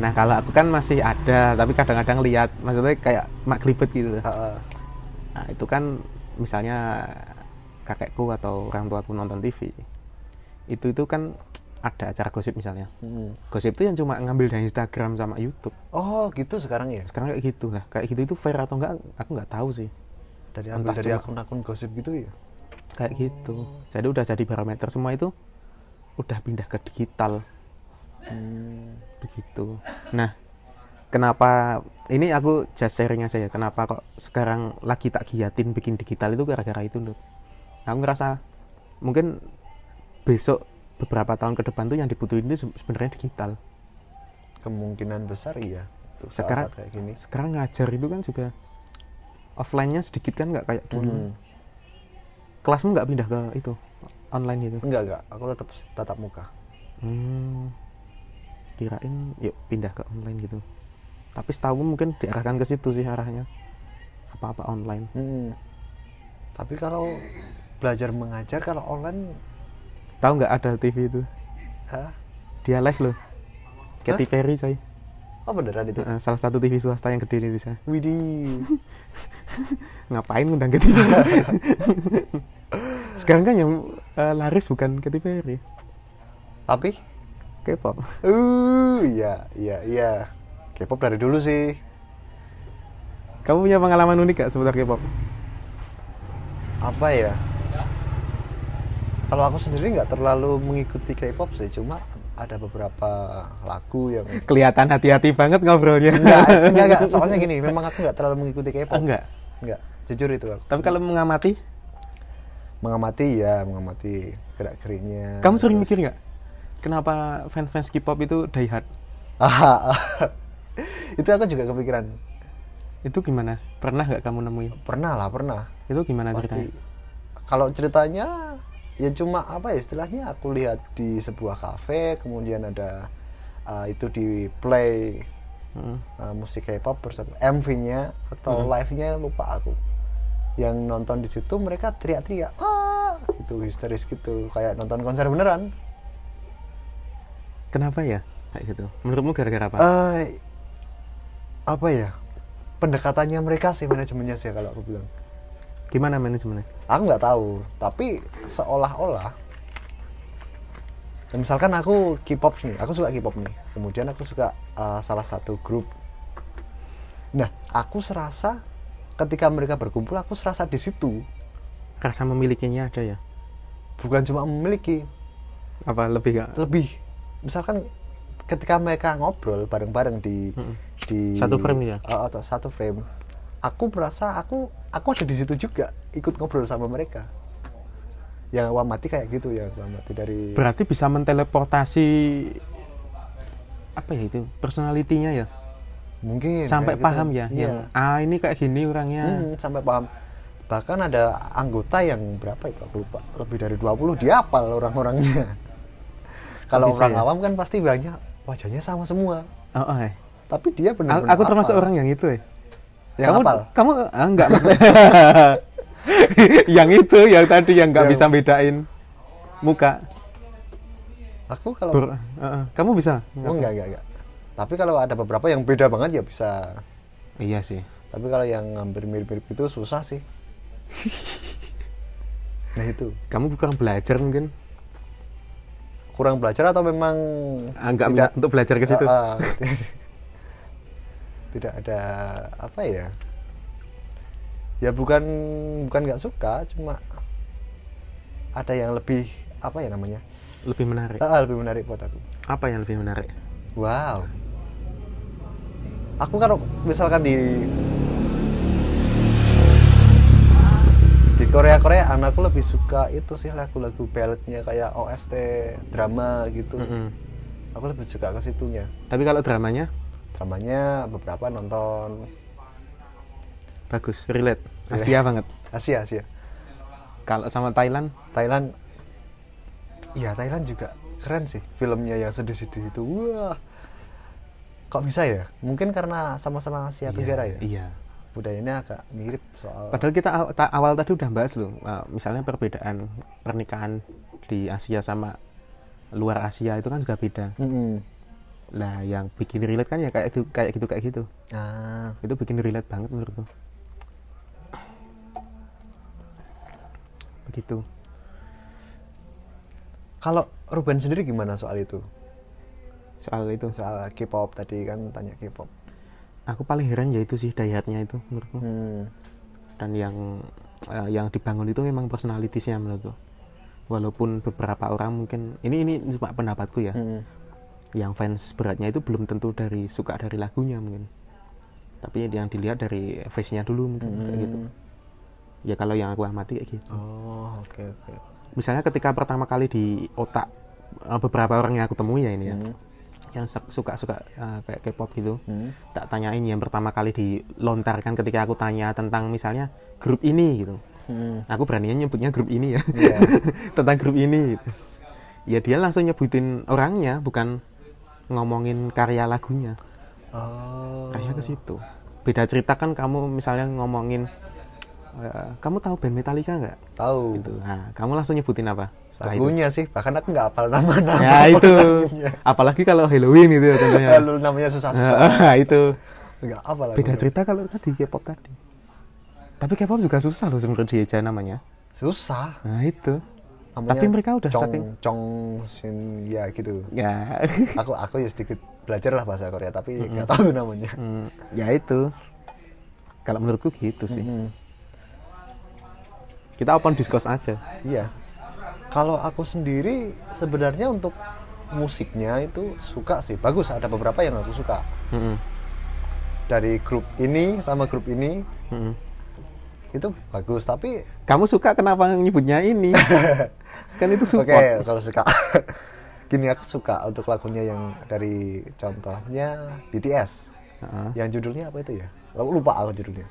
Speaker 9: Nah kalau aku kan masih ada, tapi kadang-kadang lihat, maksudnya kayak mak ribet gitu. loh.
Speaker 7: Heeh.
Speaker 9: Nah, itu kan misalnya kakekku atau orang tuaku nonton TV, itu itu kan ada acara gosip misalnya. Gosip itu yang cuma ngambil dari Instagram sama YouTube.
Speaker 7: Hmm. oh gitu sekarang ya
Speaker 9: Sekarang kayak gitu lah, kayak gitu itu fair atau enggak? Aku nggak tahu sih.
Speaker 7: dari ambil
Speaker 9: Entah
Speaker 7: dari
Speaker 9: cuma-
Speaker 7: akun-akun gosip gitu ya
Speaker 9: kayak gitu jadi udah jadi barometer semua itu udah pindah ke digital begitu nah kenapa ini aku just sharing aja ya kenapa kok sekarang lagi tak giatin bikin digital itu gara-gara itu loh aku ngerasa mungkin besok beberapa tahun ke depan tuh yang dibutuhin itu se- sebenarnya digital
Speaker 7: kemungkinan besar iya untuk saat,
Speaker 9: Sekarang-
Speaker 7: saat kayak gini
Speaker 9: sekarang ngajar itu kan juga offline-nya sedikit kan nggak kayak dulu kelasmu nggak pindah ke itu online gitu
Speaker 7: enggak enggak aku tetap tatap muka
Speaker 9: Hmm, kirain yuk pindah ke online gitu. Tapi setahu mungkin diarahkan ke situ sih arahnya. Apa-apa online.
Speaker 7: Hmm. tapi kalau belajar mengajar kalau online
Speaker 9: Tahu nggak ada TV itu?
Speaker 7: ah,
Speaker 9: Dia live loh. Katy Perry coy.
Speaker 7: oh beneran itu
Speaker 9: Heeh, salah satu TV swasta yang gede di Indonesia.
Speaker 7: Widih
Speaker 9: Ngapain ngundang Katy Perry? Sekarang kan yang eh, laris bukan Katy Perry,
Speaker 7: tapi
Speaker 9: K-pop.
Speaker 7: uh iya iya iya K-pop dari dulu sih
Speaker 9: Kamu punya pengalaman unik gak seputar K-pop?
Speaker 7: apa ya kalau aku sendiri nggak terlalu mengikuti K-pop sih cuma ada beberapa lagu yang
Speaker 9: Kelihatan hati-hati banget ngobrolnya.
Speaker 7: enggak, enggak, enggak. Soalnya gini, memang aku enggak terlalu mengikuti K-pop.
Speaker 9: Oh, enggak?
Speaker 7: Enggak. Jujur itu aku.
Speaker 9: Tapi kalau mengamati,
Speaker 7: mengamati ya, mengamati gerak-geriknya.
Speaker 9: kamu sering mikir nggak? Kenapa fans-fans K-pop itu die hard?
Speaker 7: Ah, ah. itu aku juga kepikiran.
Speaker 9: itu gimana pernah nggak kamu nemuin
Speaker 7: pernah lah pernah
Speaker 9: itu gimana
Speaker 7: pasti
Speaker 9: Nah, ceritanya
Speaker 7: kalau ceritanya ya cuma apa ya istilahnya aku lihat di sebuah kafe kemudian ada eh, itu di play
Speaker 9: Heeh.
Speaker 7: eh, musik K-pop bersatu MV-nya atau live-nya lupa aku yang nonton di situ mereka teriak-teriak ah gitu histeris gitu kayak nonton konser beneran
Speaker 9: kenapa ya kayak gitu menurutmu gara-gara apa
Speaker 7: eh apa ya pendekatannya mereka sih manajemennya sih kalau aku bilang
Speaker 9: gimana manajemennya
Speaker 7: aku nggak tahu tapi seolah-olah misalkan aku K-pop nih aku suka K-pop nih kemudian aku suka uh, salah satu grup nah aku serasa ketika mereka berkumpul aku serasa di situ
Speaker 9: rasa memilikinya ada ya
Speaker 7: bukan cuma memiliki
Speaker 9: apa lebih nggak
Speaker 7: lebih misalkan ketika mereka ngobrol bareng-bareng di di
Speaker 9: Satu frame ya?
Speaker 7: Uh, atau satu frame aku merasa aku aku ada di situ juga ikut ngobrol sama mereka yang aku amati kayak gitu ya aku amati dari
Speaker 9: berarti bisa menteleportasi apa ya itu personalitinya ya
Speaker 7: mungkin
Speaker 9: sampai
Speaker 7: Iya, kayak gitu.
Speaker 9: paham ya
Speaker 7: Iya.
Speaker 9: yang ah ini kayak gini orangnya
Speaker 7: Mm, sampai paham bahkan ada anggota yang berapa itu aku lupa lebih dari 20 dia apal orang-orangnya kalau
Speaker 9: Bisa
Speaker 7: orang
Speaker 9: ya?
Speaker 7: awam kan pasti bilangnya wajahnya sama semua
Speaker 9: oh, oh, eh.
Speaker 7: tapi dia
Speaker 9: A-
Speaker 7: benar-benar
Speaker 9: aku termasuk
Speaker 7: apal.
Speaker 9: orang yang itu eh
Speaker 7: yang
Speaker 9: kamu
Speaker 7: apal
Speaker 9: kamu ah, enggak maksudnya yang itu yang tadi yang nggak
Speaker 7: Yang-
Speaker 9: bisa bedain muka
Speaker 7: aku kalau
Speaker 9: Ber- eh, eh. kamu bisa
Speaker 7: Oh, enggak, enggak, enggak. Tapi kalau ada beberapa yang beda banget ya bisa.
Speaker 9: iya sih
Speaker 7: Tapi kalau yang hampir mirip-mirip itu susah sih. nah itu
Speaker 9: kamu kurang belajar mungkin
Speaker 7: kurang belajar atau memang
Speaker 9: Ah, nggak minat untuk belajar ke situ
Speaker 7: Ah, ah. tidak ada apa ya? Ya bukan bukan nggak suka, cuma ada yang lebih apa ya namanya?
Speaker 9: lebih menarik
Speaker 7: Ah, ah, lebih menarik buat aku.
Speaker 9: apa yang lebih menarik
Speaker 7: Wow. Aku kalau misalkan di di Korea Korea anakku lebih suka itu sih lagu-lagu balladnya kayak OST drama gitu.
Speaker 9: Mm-mm.
Speaker 7: Aku lebih suka ke situnya.
Speaker 9: tapi kalau dramanya
Speaker 7: Dramanya beberapa nonton
Speaker 9: bagus relate Asia banget
Speaker 7: Asia Asia.
Speaker 9: kalau sama Thailand
Speaker 7: Thailand Iya Thailand juga keren sih filmnya yang sedih-sedih itu. Wah. Kok bisa ya? Mungkin karena sama-sama Asia Tenggara ya.
Speaker 9: iya
Speaker 7: Budayanya agak mirip soal
Speaker 9: Padahal kita aw- ta- awal tadi udah bahas loh, uh, misalnya perbedaan pernikahan di Asia sama luar Asia itu kan juga beda.
Speaker 7: Mm-mm.
Speaker 9: Lah yang bikin relate kan ya kayak itu kayak gitu kayak gitu.
Speaker 7: Ah,
Speaker 9: Itu bikin relate banget menurutku. Begitu.
Speaker 7: kalau Ruben sendiri gimana soal itu?
Speaker 9: Soal itu
Speaker 7: Soal K-pop tadi kan tanya K-pop.
Speaker 9: aku paling heran ya itu sih dayatnya itu menurutku.
Speaker 7: Hmm,
Speaker 9: Dan yang uh, yang dibangun itu memang personalitasnya menurutku. Walaupun beberapa orang mungkin ini ini cuma pendapatku ya.
Speaker 7: hmm.
Speaker 9: yang fans beratnya itu belum tentu dari suka dari lagunya mungkin tapi yang dilihat dari face-nya dulu mungkin kayak gitu
Speaker 7: Hmm.
Speaker 9: ya kalau yang aku amati kayak gitu
Speaker 7: Oh, oke oke.
Speaker 9: misalnya ketika pertama kali di otak eh, beberapa orang yang aku temui ya ini ya yang suka suka kayak K-pop gitu
Speaker 7: Hmm.
Speaker 9: tak tanyain yang pertama kali dilontarkan ketika aku tanya tentang misalnya grup ini gitu
Speaker 7: Hmm.
Speaker 9: aku beraninya nyebutnya grup ini ya
Speaker 7: Iya.
Speaker 9: tentang grup ini gitu. ya dia langsung nyebutin orangnya bukan ngomongin karya lagunya
Speaker 7: Oh.
Speaker 9: kayak ke situ beda cerita kan kamu misalnya ngomongin eh, kamu tahu band Metallica nggak
Speaker 7: Tahu.
Speaker 9: gitu nah, kamu langsung nyebutin apa setelah Ah, itu
Speaker 7: Lagunya sih, bahkan aku nggak hafal nama-nama.
Speaker 9: ya itu apalagi kalau Halloween itu contohnya
Speaker 7: Lalu namanya susah-susah.
Speaker 9: Nah, itu
Speaker 7: Nggak hafal aku.
Speaker 9: beda cerita kalau tadi K-pop tadi tapi K-pop juga susah loh sebenarnya dieja namanya
Speaker 7: Susah.
Speaker 9: nah itu
Speaker 7: Namanya
Speaker 9: Tapi mereka udah
Speaker 7: Chong,
Speaker 9: saking-
Speaker 7: Chong Shin ya gitu.
Speaker 9: ya
Speaker 7: Aku aku ya sedikit belajar lah bahasa Korea tapi nggak tahu namanya.
Speaker 9: Hmm, ya itu. Kalau menurutku gitu sih.
Speaker 7: Mm.
Speaker 9: Kita open discuss aja.
Speaker 7: Iya. Kalau aku sendiri sebenarnya untuk musiknya itu suka sih. Bagus ada beberapa yang aku suka.
Speaker 9: Mm-mm,
Speaker 7: Dari grup ini sama grup ini
Speaker 9: mm-mm.
Speaker 7: itu bagus tapi
Speaker 9: Kamu suka kenapa nyebutnya ini? kan itu
Speaker 7: oke
Speaker 9: support.
Speaker 7: kalau suka. Gini aku suka untuk lagunya yang dari contohnya BTS.
Speaker 9: Heeh.
Speaker 7: Yang judulnya apa itu ya? Aku lupa aku judulnya.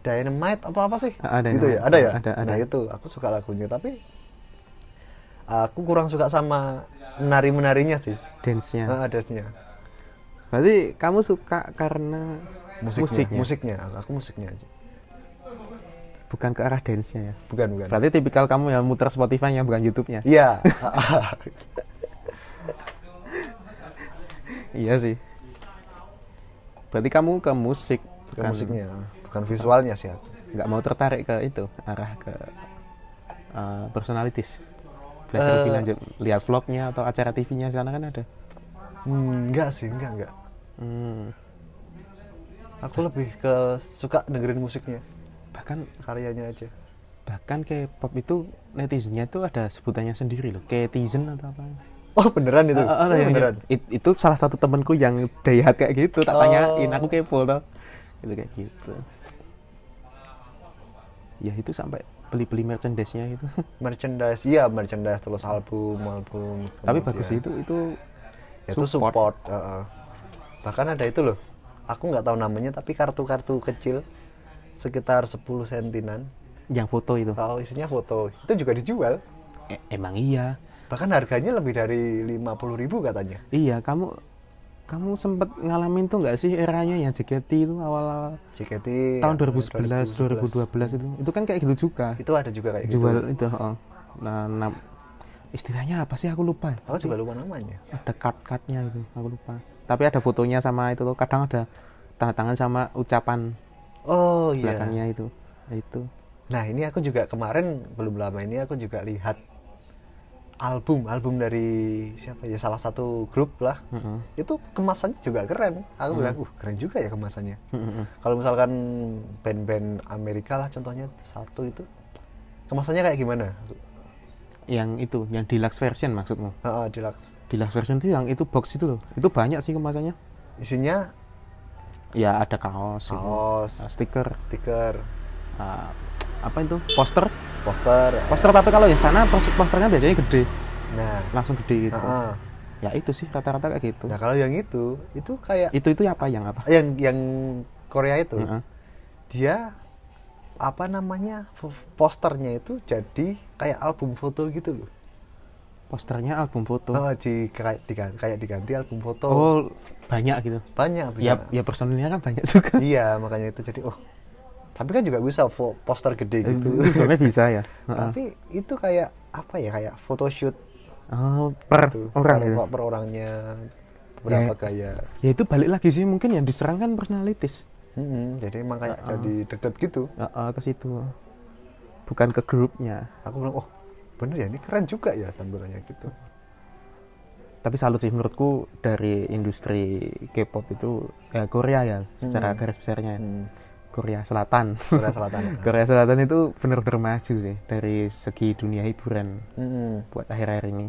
Speaker 7: Dynamite atau apa sih?
Speaker 9: Ah, ah,
Speaker 7: gitu ya,
Speaker 9: Dynamite.
Speaker 7: ada ya.
Speaker 9: Ada, ada.
Speaker 7: Nah itu aku suka lagunya tapi aku kurang suka sama menari menarinya sih.
Speaker 9: dance-nya.
Speaker 7: Ah, dance-nya.
Speaker 9: Berarti kamu suka karena
Speaker 7: Musiknya,
Speaker 9: musiknya,
Speaker 7: musiknya. Aku musiknya aja.
Speaker 9: bukan ke arah dance-nya ya.
Speaker 7: Bukan bukan.
Speaker 9: Berarti tipikal kamu yang muter Spotify-nya bukan YouTube-nya.
Speaker 7: Iya.
Speaker 9: Iya sih. Berarti kamu ke musik,
Speaker 7: Bukan
Speaker 9: bukan-
Speaker 7: musiknya, bukan visualnya sih aku.
Speaker 9: nggak mau tertarik ke itu arah ke uh, personalities. Belajar lebih lanjut lihat vlognya atau acara TV-nya sana kan ada.
Speaker 7: Hmm, enggak sih, enggak enggak.
Speaker 9: Hmm,
Speaker 7: Aku lebih ke suka dengerin musiknya,
Speaker 9: bahkan
Speaker 7: karyanya aja.
Speaker 9: bahkan K-pop itu netizennya itu ada sebutannya sendiri loh, netizen atau apa?
Speaker 7: Oh beneran itu?
Speaker 9: Ah, ah, ah,
Speaker 7: Oh,
Speaker 9: yang-
Speaker 7: beneran.
Speaker 9: it- itu salah satu temenku yang dayat kayak gitu, tak tanyain aku kepo tau, itu kayak gitu. Ya itu sampai beli-beli merchandise-nya gitu. itu.
Speaker 7: Merchandise, iya merchandise terus album, album.
Speaker 9: Tapi
Speaker 7: kemudian-
Speaker 9: bagus sih itu itu
Speaker 7: Iya. Ya, Itu
Speaker 9: support.
Speaker 7: support. heeh. Bahkan ada itu loh. Aku nggak tahu namanya tapi kartu-kartu kecil sekitar 10 sentinan.
Speaker 9: yang foto itu.
Speaker 7: Kalau isinya foto, itu juga dijual.
Speaker 9: E- emang iya.
Speaker 7: Bahkan harganya lebih dari 50.000 ribu katanya.
Speaker 9: Iya, kamu kamu sempet ngalamin tuh nggak sih eranya ya, yang JKT itu awal-awel
Speaker 7: Iya, JKT
Speaker 9: tahun 2011, 2012 itu. Itu kan kayak gitu juga.
Speaker 7: Itu ada juga kayak
Speaker 9: Jual
Speaker 7: gitu.
Speaker 9: itu, oh. Nah, nam- istilahnya apa sih aku lupa.
Speaker 7: Aku juga lupa namanya.
Speaker 9: Ada card-cardnya itu, aku lupa. Tapi ada fotonya sama itu tuh. Kadang ada tanda tangan sama ucapan
Speaker 7: Oh iya.
Speaker 9: belakangnya itu. Itu.
Speaker 7: Nah ini aku juga kemarin belum lama ini aku juga lihat album album dari siapa ya salah satu grup lah
Speaker 9: Heeh.
Speaker 7: itu kemasannya juga keren aku bilang uh keren juga ya kemasannya
Speaker 9: Mm-mm.
Speaker 7: kalau misalkan band-band Amerika lah contohnya satu itu kemasannya kayak gimana
Speaker 9: Yang itu, yang deluxe version maksudmu.
Speaker 7: Heeh, deluxe
Speaker 9: Deluxe version itu yang itu box itu loh. Itu banyak sih kemasannya.
Speaker 7: isinya
Speaker 9: Ya ada kaos, itu.
Speaker 7: kaos
Speaker 9: Uh, stiker
Speaker 7: stiker
Speaker 9: uh, apa itu poster
Speaker 7: poster
Speaker 9: poster tapi kalau yang sana pos- posternya biasanya gede
Speaker 7: nah
Speaker 9: langsung gede gitu
Speaker 7: heeh.
Speaker 9: ya itu sih rata-rata kayak gitu
Speaker 7: nah kalau yang itu itu kayak
Speaker 9: itu itu apa yang apa
Speaker 7: yang yang Korea itu
Speaker 9: Heeh.
Speaker 7: dia apa namanya f- posternya itu jadi kayak album foto gitu loh
Speaker 9: posternya album foto
Speaker 7: Oh, di, kayak, diga- kayak diganti album foto
Speaker 9: oh banyak gitu
Speaker 7: banyak
Speaker 9: ya
Speaker 7: bisa
Speaker 9: ya personilnya kan banyak juga
Speaker 7: iya makanya itu jadi oh tapi kan juga bisa fo- poster gede
Speaker 9: itu
Speaker 7: gitu
Speaker 9: Eh, itu sebenarnya bisa ya Heeh.
Speaker 7: tapi itu kayak apa ya kayak photoshoot
Speaker 9: Oh, per
Speaker 7: gitu
Speaker 9: orang
Speaker 7: per,
Speaker 9: gitu
Speaker 7: per orangnya berapa gaya
Speaker 9: ya itu balik lagi sih mungkin yang diserang kan personalitis
Speaker 7: Mm-mm, jadi emang kayak jadi deket gitu
Speaker 9: Heeh, ke situ bukan ke grupnya
Speaker 7: aku bilang oh bener ya ini keren juga ya tampilannya gitu
Speaker 9: tapi salut sih menurutku dari industri K-pop itu eh, Korea ya secara garis besarnya ya.
Speaker 7: Hmm,
Speaker 9: Korea Selatan
Speaker 7: Korea Selatan ya. ah.
Speaker 9: Korea Selatan itu benar-benar maju sih dari segi dunia hiburan
Speaker 7: Mm-mm.
Speaker 9: buat akhir-akhir ini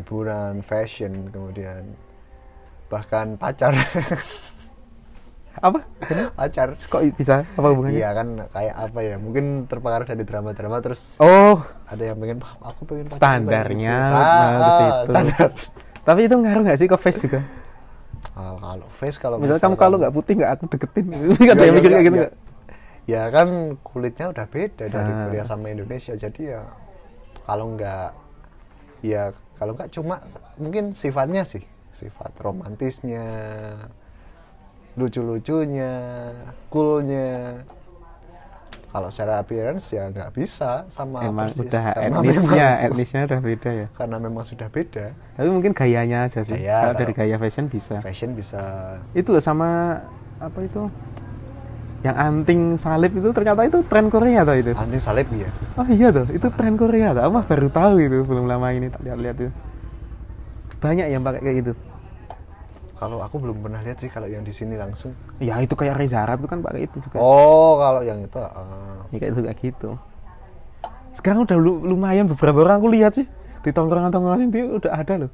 Speaker 7: hiburan, fashion, kemudian bahkan pacar,
Speaker 9: apa
Speaker 7: pacar.
Speaker 9: kok bisa apa hubungannya
Speaker 7: Iya kan kayak apa ya? Mungkin terpengaruh dari drama-drama terus
Speaker 9: oh
Speaker 7: ada yang pengen "Wah, aku pengen pacar
Speaker 9: standarnya
Speaker 7: kayak gitu."
Speaker 9: nah, ke
Speaker 7: Ah,
Speaker 9: situ.
Speaker 7: standar.
Speaker 9: tapi itu ngaruh nggak sih ke face juga
Speaker 7: Ah, kalau face kalau
Speaker 9: misal kamu kalau nggak putih nggak aku deketin
Speaker 7: Ya,
Speaker 9: Kan ada yang
Speaker 7: ya,
Speaker 9: mikir
Speaker 7: ya,
Speaker 9: kayak gitu
Speaker 7: ya.
Speaker 9: nggak Ah.
Speaker 7: Ya kan kulitnya udah beda dari Korea sama Indonesia. Jadi ya kalau nggak ya kalau nggak cuma mungkin sifatnya sih, sifat romantisnya, lucu-lucunya, coolnya. Kalau secara appearance ya nggak bisa sama
Speaker 9: emang
Speaker 7: persis.
Speaker 9: udah
Speaker 7: karena
Speaker 9: etnisnya
Speaker 7: memang,
Speaker 9: etnisnya udah beda ya
Speaker 7: karena memang sudah beda.
Speaker 9: tapi mungkin gayanya aja sih
Speaker 7: Gaya,
Speaker 9: kalau dari
Speaker 7: kalau-
Speaker 9: gaya fashion bisa
Speaker 7: Fashion bisa
Speaker 9: itu loh sama apa itu yang anting salib itu ternyata itu tren Korea tau itu
Speaker 7: anjing salib ya.
Speaker 9: Oh iya tuh, itu tren Korea tuh. Aku mah baru tahu itu belum lama ini tak lihat-lihat itu. Banyak yang pakai kayak gitu.
Speaker 7: Kalau aku belum pernah lihat sih kalau yang di sini langsung.
Speaker 9: Ya itu kayak Reza Arab itu kan pakai itu juga.
Speaker 7: Oh, kalau yang itu ah.
Speaker 9: Ya, kayak itu kayak gitu. Sekarang udah lu- lumayan beberapa orang aku lihat sih di tongkrongan-tongkrongan itu udah ada loh.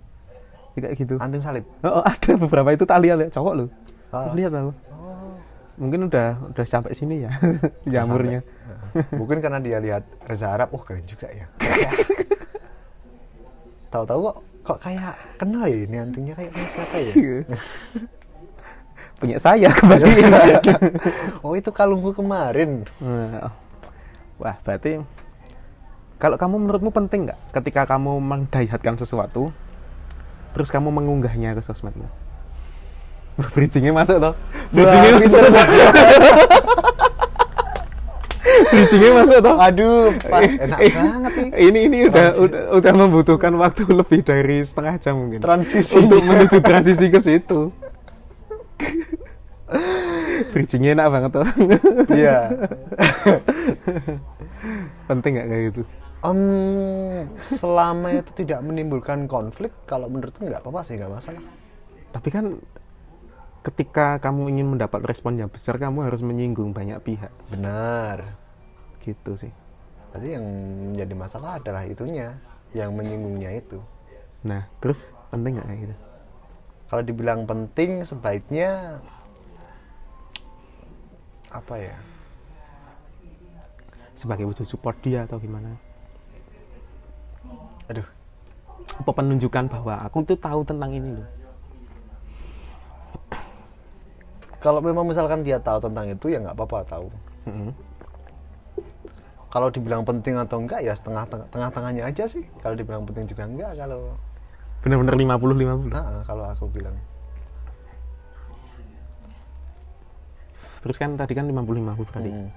Speaker 9: Ya, kayak gitu.
Speaker 7: anting salib.
Speaker 9: Oh, oh, ada beberapa itu tak lihat ya, cowok loh.
Speaker 7: Ah.
Speaker 9: Aku Lihat aku. Mungkin udah udah sampai sini ya jamurnya.
Speaker 7: Mungkin karena dia lihat Reza Arab, oh keren juga ya. Kayak- Tahu-tahu kok kok kayak kenal ya ini antingnya kayak punya siapa ya?
Speaker 9: punya saya kembali.
Speaker 7: oh itu kalungku kemarin
Speaker 9: Nah, Wah, berarti kalau kamu menurutmu penting nggak ketika kamu mendahihatkan sesuatu, terus kamu mengunggahnya ke sosmedmu? Wah, Bridgingnya masuk toh? Bridgingnya masuk toh? Bridgingnya masuk toh?
Speaker 7: aduh Pak, enak banget nih
Speaker 9: Ini ini udah, udah udah membutuhkan waktu lebih dari setengah jam mungkin
Speaker 7: transisi
Speaker 9: untuk menuju transisi ke situ. Bridgingnya enak banget toh?
Speaker 7: iya
Speaker 9: Penting nggak kayak gitu?
Speaker 7: Em, selama itu tidak menimbulkan konflik kalau menurutku nggak apa-apa sih nggak masalah
Speaker 9: Tapi kan ketika kamu ingin mendapat respon yang besar, kamu harus menyinggung banyak pihak.
Speaker 7: benar
Speaker 9: Gitu sih.
Speaker 7: Berarti yang menjadi masalah adalah itunya, yang menyinggungnya itu.
Speaker 9: Nah, terus penting nggak kayak gitu?
Speaker 7: Kalau dibilang penting, sebaiknya apa ya?
Speaker 9: Sebagai wujud support dia atau gimana?
Speaker 7: Aduh,
Speaker 9: Apa penunjukan bahwa aku tuh tahu tentang ini loh.
Speaker 7: kalau memang misalkan dia tahu tentang itu ya nggak apa-apa tahu.
Speaker 9: Mm-mm.
Speaker 7: Kalau dibilang penting atau enggak ya setengah tengah tengahnya aja sih. Kalau dibilang penting juga enggak kalau
Speaker 9: Bener-bener 50-50.
Speaker 7: Ah, ah, kalau aku bilang
Speaker 9: Terus kan tadi kan 50-50 berarti.
Speaker 7: Mm.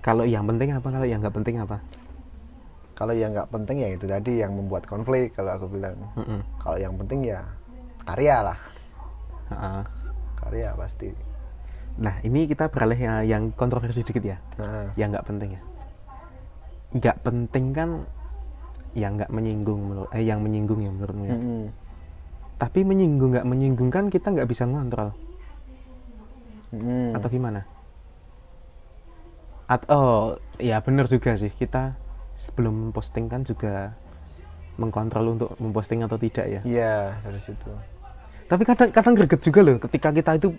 Speaker 9: Kalau yang penting apa, kalau yang nggak penting apa?
Speaker 7: kalau yang nggak penting ya itu tadi yang membuat konflik kalau aku bilang.
Speaker 9: Mm-mm.
Speaker 7: Kalau yang penting ya karya lah,
Speaker 9: Ha-ha.
Speaker 7: karya pasti.
Speaker 9: Nah, ini kita beralih ya- yang kontroversi dikit ya.
Speaker 7: Nah,
Speaker 9: yang nggak penting ya nggak penting kan yang nggak menyinggung menurut eh yang menyinggung ya menurutmu ya
Speaker 7: mm-mm.
Speaker 9: tapi menyinggung nggak menyinggung kan kita nggak bisa ngontrol
Speaker 7: Mm-mm.
Speaker 9: atau gimana atau oh, ya bener juga sih kita sebelum posting kan juga mengkontrol untuk memposting atau tidak ya
Speaker 7: Iya, harus itu.
Speaker 9: tapi kadang kadang greget juga loh ketika kita itu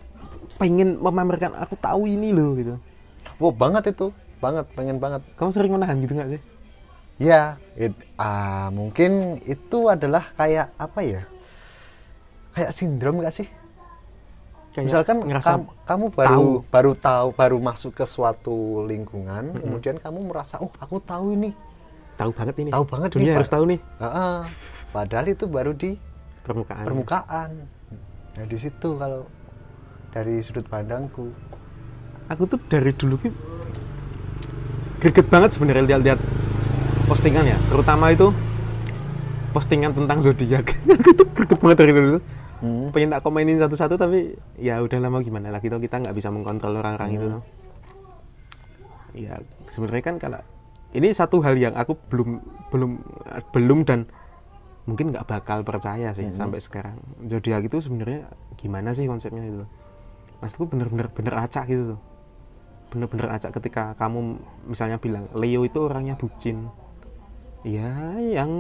Speaker 9: pengen memamerkan aku tahu ini loh gitu
Speaker 7: Wow, banget itu. Banget, pengen banget.
Speaker 9: kamu sering menahan gitu nggak sih
Speaker 7: Ya, it, ah, mungkin itu adalah kayak apa ya? Kayak sindrom gak sih?
Speaker 9: Kayak
Speaker 7: Misalkan
Speaker 9: ngerasa
Speaker 7: kam- kamu baru baru tahu, baru masuk ke suatu lingkungan, kemudian kamu merasa, "Oh, aku tahu ini."
Speaker 9: tahu banget ini
Speaker 7: Tahu banget nih,
Speaker 9: dunia
Speaker 7: Pak.
Speaker 9: harus tahu nih
Speaker 7: Ah, ah. padahal itu baru di
Speaker 9: permukaan
Speaker 7: permukaan. Nah, di situ kalau dari sudut pandangku.
Speaker 9: aku tuh dari dulu ki greget banget sebenarnya lihat-lihat postingan ya terutama itu postingan tentang zodiak aku tuh greget banget dari dulu tuh.
Speaker 7: Hmm.
Speaker 9: pengen tak komenin satu-satu tapi ya udah lama gimana lagi tuh kita nggak bisa mengkontrol orang-orang itu tuh. ya sebenarnya kan kalau ini satu hal yang aku belum belum belum dan mungkin nggak bakal percaya sih sampai sekarang zodiak itu sebenarnya gimana sih konsepnya itu maksudku bener-bener bener acak gitu tuh bener-bener acak ketika kamu misalnya bilang Leo itu orangnya bucin ya yang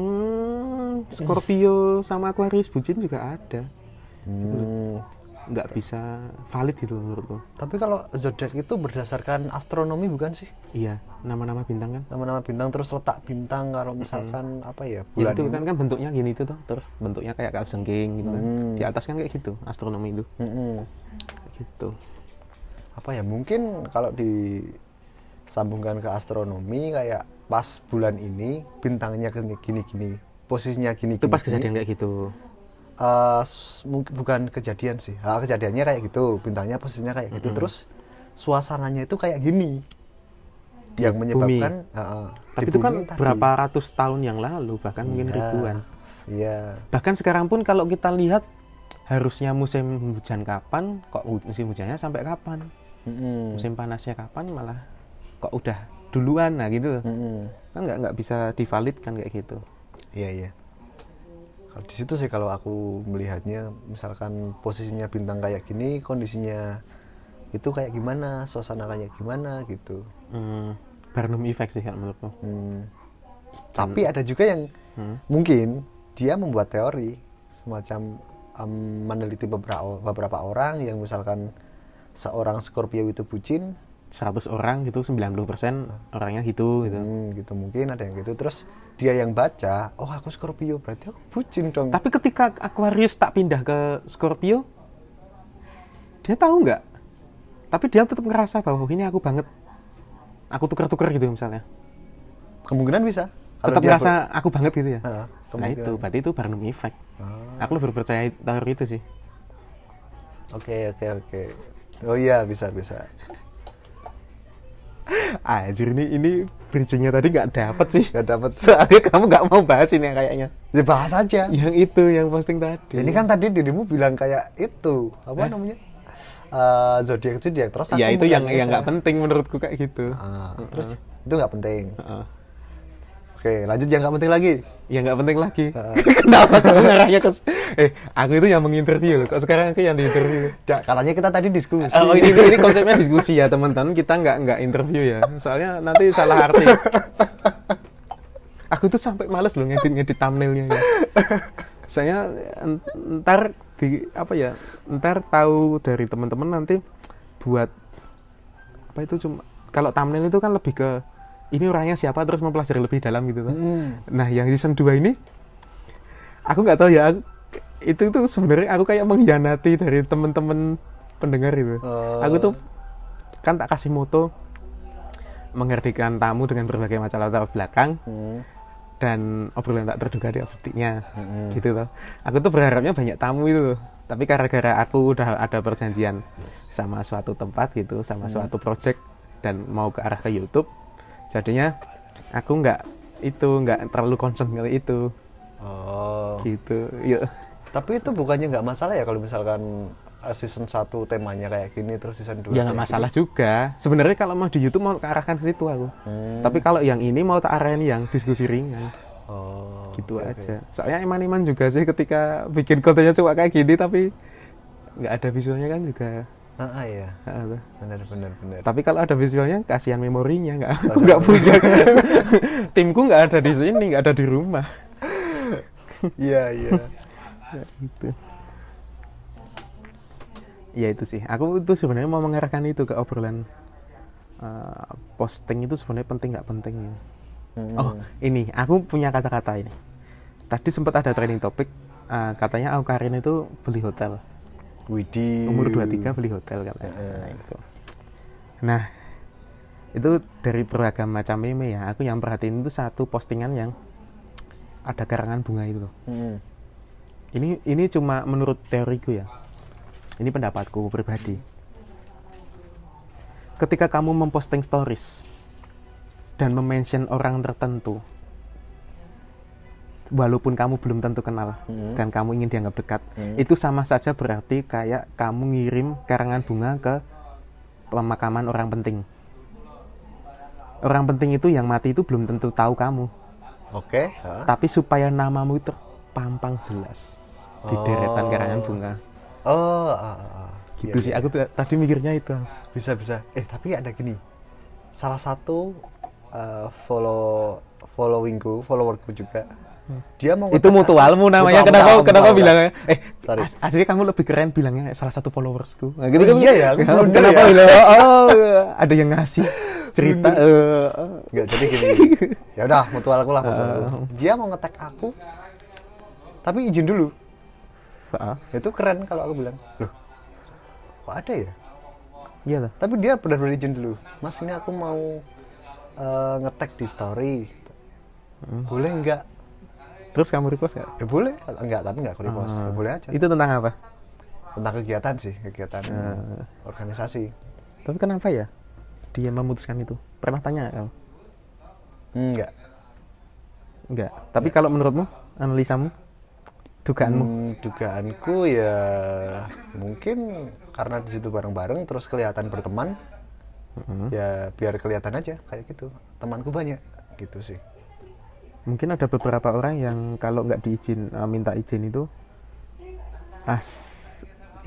Speaker 9: Scorpio sama Aquarius bucin juga ada
Speaker 7: Hmm,
Speaker 9: nggak bisa valid gitu loh menurutku
Speaker 7: Tapi kalau zodiak itu berdasarkan astronomi bukan sih?
Speaker 9: iya nama-nama bintang kan
Speaker 7: nama-nama bintang terus letak bintang kalau misalkan apa ya bulan
Speaker 9: Ya itu
Speaker 7: ini.
Speaker 9: kan kan bentuknya gini tuh toh. terus bentuknya kayak kalsengking gitu kan.
Speaker 7: Hmm.
Speaker 9: di atas kan kayak gitu astronomi itu
Speaker 7: Mm-mm.
Speaker 9: gitu
Speaker 7: apa ya mungkin kalau disambungkan ke astronomi kayak pas bulan ini bintangnya gini gini, gini posisinya gini
Speaker 9: itu
Speaker 7: gini,
Speaker 9: pas
Speaker 7: gini.
Speaker 9: kejadian kayak gitu
Speaker 7: Eh, s- mungkin bukan kejadian sih Ah, kejadiannya kayak gitu bintangnya posisinya kayak gitu terus suasananya itu kayak gini yang menyebabkan ah, ah,
Speaker 9: tapi
Speaker 7: di
Speaker 9: itu kan
Speaker 7: bumi tadi.
Speaker 9: berapa ratus tahun yang lalu bahkan
Speaker 7: Iya.
Speaker 9: mungkin ribuan
Speaker 7: iya
Speaker 9: bahkan sekarang pun kalau kita lihat harusnya musim hujan kapan kok hu- musim hujannya sampai kapan
Speaker 7: Mm-mm.
Speaker 9: musim panasnya kapan malah kok udah duluan nah gitu loh
Speaker 7: Mm-mm.
Speaker 9: kan nggak nggak bisa divalidkan kayak gitu
Speaker 7: Iya iya. Kalau di situ sih kalau aku melihatnya, misalkan posisinya bintang kayak gini, kondisinya itu kayak gimana, suasana kayak gimana gitu.
Speaker 9: hmm, Barnum effect sih kalau menurutku
Speaker 7: Hmm. Tapi ada juga yang
Speaker 9: Hmm?
Speaker 7: mungkin dia membuat teori semacam em, meneliti beberapa beberapa orang yang misalkan seorang Scorpio itu bucin,
Speaker 9: 100 orang gitu 90% orangnya gitu gitu
Speaker 7: hmm, gitu mungkin ada yang gitu. Terus dia yang baca, oh aku Scorpio berarti aku bucin dong.
Speaker 9: tapi ketika Aquarius tak pindah ke Scorpio dia tahu nggak tapi dia tetap ngerasa bahwa "Oh, ini aku banget aku tuker-tuker gitu misalnya
Speaker 7: kemungkinan bisa Kalau
Speaker 9: tetap
Speaker 7: dia
Speaker 9: ngerasa aku banget gitu ya
Speaker 7: ber- Ah,
Speaker 9: nah
Speaker 7: kemungkinan.
Speaker 9: itu berarti itu Barnum effect aku lebih percaya teori itu sih
Speaker 7: oke oke oke oh iya bisa bisa
Speaker 9: anjir ini ini bridgingnya tadi nggak dapet sih
Speaker 7: gak dapat
Speaker 9: soalnya kamu nggak mau bahas ini yang kayaknya
Speaker 7: ya bahas aja
Speaker 9: yang itu yang posting tadi
Speaker 7: ini kan tadi dirimu bilang kayak itu apa namanya Eh, zodiak zodiak terus aku
Speaker 9: ya
Speaker 7: bukan
Speaker 9: itu yang
Speaker 7: gitu.
Speaker 9: yang nggak penting menurutku kayak gitu
Speaker 7: Ah, terus itu nggak penting
Speaker 9: Heeh.
Speaker 7: oke lanjut yang nggak penting lagi
Speaker 9: yang Ya, nggak penting lagi kenapa kamu ngarahnya ke eh aku itu yang menginterview loh. kok sekarang aku yang diinterview
Speaker 7: Ja- katanya kita tadi diskusi
Speaker 9: Oh ini, ini konsepnya diskusi ya teman-teman kita nggak nggak interview ya soalnya nanti salah arti. Aku tuh sampai males loh ngedit ngedit thumbnailnya ya. Soalnya en- ntar di apa ya ntar tahu dari teman-teman nanti buat apa itu cuma kalau thumbnail itu kan lebih ke ini orangnya siapa terus mempelajari lebih dalam gitu kan. Nah yang season 2 ini aku nggak tahu ya aku- itu tuh sebenarnya aku kayak mengkhianati dari temen-temen pendengar itu aku tuh kan tak kasih moto mengerdekkan tamu dengan berbagai macam latar belakang dan obrolan tak terduga di otaknya gitu loh aku tuh berharapnya banyak tamu itu loh tapi gara-gara aku udah ada perjanjian sama suatu tempat gitu sama suatu project dan mau ke arah ke YouTube jadinya aku nggak itu nggak terlalu concern kali itu
Speaker 7: oh
Speaker 9: gitu yuk
Speaker 7: tapi itu bukannya nggak masalah ya kalau misalkan eh, season 1 temanya kayak gini terus season 2
Speaker 9: ya nggak masalah juga sebenarnya kalau mau di YouTube mau kearahkan ke situ aku tapi kalau yang ini mau tak arahin yang diskusi ringan
Speaker 7: oh
Speaker 9: gitu aja soalnya iman-iman juga sih ketika bikin kontennya cuma kayak gini tapi nggak ada visualnya kan juga
Speaker 7: ah, ah, iya
Speaker 9: nggak ada.
Speaker 7: benar benar benar
Speaker 9: tapi kalau ada visualnya kasihan memorinya nggak aku nggak punya timku nggak ada di sini nggak ada di rumah
Speaker 7: iya iya
Speaker 9: gitu ya itu sih aku itu sebenarnya mau mengarahkan itu ke obrolan uh, posting itu sebenarnya penting nggak penting ya. oh ini aku punya kata-kata ini tadi sempat ada training topik uh, katanya aku Karin itu beli hotel
Speaker 7: Widi
Speaker 9: umur 23 beli hotel katanya nah, itu nah itu dari beragam macam meme ya aku yang perhatiin itu satu postingan yang ada karangan bunga itu loh ini ini cuma menurut teoriku ya ini pendapatku pribadi ketika kamu memposting stories dan memention orang tertentu walaupun kamu belum tentu kenal dan kamu ingin dianggap dekat itu sama saja berarti kayak kamu ngirim karangan bunga ke pemakaman orang penting orang penting itu yang mati itu belum tentu tahu kamu
Speaker 7: oke ah.
Speaker 9: tapi supaya namamu itu terpampang jelas di deretan karangan bunga
Speaker 7: oh ah, ah, ah.
Speaker 9: gitu sih aku t- tadi mikirnya itu
Speaker 7: bisa bisa eh tapi ada gini salah satu eh, follow followingku followerku juga dia mau
Speaker 9: itu mutualmu namanya
Speaker 7: Mutualmu,
Speaker 9: kenapa
Speaker 7: mutualmu,
Speaker 9: kenapa
Speaker 7: mutualmu.
Speaker 9: bilangnya eh
Speaker 7: Sorry.
Speaker 9: as- aslinya kamu lebih keren bilangnya salah satu followersku nah, gitu
Speaker 7: Oh, iya ya, aku blunder
Speaker 9: kenapa
Speaker 7: ya.
Speaker 9: bilang oh ada yang ngasih cerita eh, eh.
Speaker 7: nggak jadi gini ya udah mutual aku lah mutualku.
Speaker 9: Ah.
Speaker 7: dia mau ngetek aku tapi izin dulu
Speaker 9: Ah,
Speaker 7: itu keren kalau aku bilang loh kok ada ya
Speaker 9: iya lah
Speaker 7: tapi dia benar-benar izin dulu mas ini aku mau eh, ngetek di story
Speaker 9: Hmm.
Speaker 7: boleh nggak
Speaker 9: terus kamu request nggak
Speaker 7: ya boleh nggak tapi nggak aku repost Ya, boleh aja
Speaker 9: itu tentang apa
Speaker 7: tentang kegiatan sih kegiatan organisasi
Speaker 9: tapi kenapa ya dia memutuskan itu pernah tanya nggak kamu
Speaker 7: enggak
Speaker 9: enggak tapi kalau menurutmu analisamu dugaanmu
Speaker 7: Hmm, dugaanku ya mungkin karena di situ bareng-bareng terus kelihatan berteman ya biar kelihatan aja kayak gitu temanku banyak gitu sih
Speaker 9: mungkin ada beberapa orang yang kalau nggak diizin eh, minta izin itu as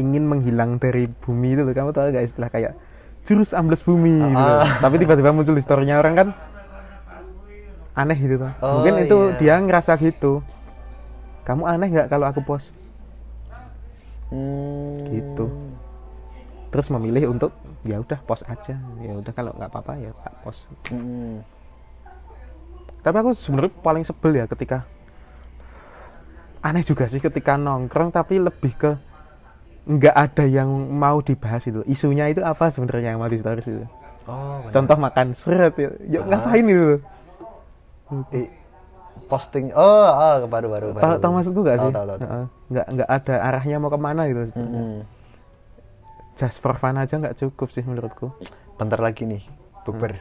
Speaker 9: ingin menghilang dari bumi itu loh kamu tahu nggak istilah kayak jurus ambles bumi
Speaker 7: Ah.
Speaker 9: gitu loh. tapi tiba-tiba muncul di story-nya orang kan aneh gitu tuh
Speaker 7: Oh,
Speaker 9: mungkin itu
Speaker 7: iya.
Speaker 9: dia ngerasa gitu kamu aneh nggak kalau aku post
Speaker 7: Hmm,
Speaker 9: gitu terus memilih untuk ya udah post aja ya udah kalau nggak apa-apa ya tak post
Speaker 7: hmm.
Speaker 9: tapi aku sebenarnya paling sebel ya ketika aneh juga sih ketika nongkrong tapi lebih ke nggak ada yang mau dibahas itu isunya itu apa sebenarnya yang mau ditaruh itu contoh makan seret ya, Ya,
Speaker 7: Ah,
Speaker 9: ngapain itu
Speaker 7: I- posting oh ah baru baru
Speaker 9: tahu
Speaker 7: baru
Speaker 9: tahu maksud gue gak
Speaker 7: Tahu,
Speaker 9: sih Ah.
Speaker 7: tahu, tahu, tahu.
Speaker 9: Heeh. nggak nggak ada arahnya mau kemana gitu just for fun aja nggak cukup sih menurutku
Speaker 7: bentar lagi nih bubar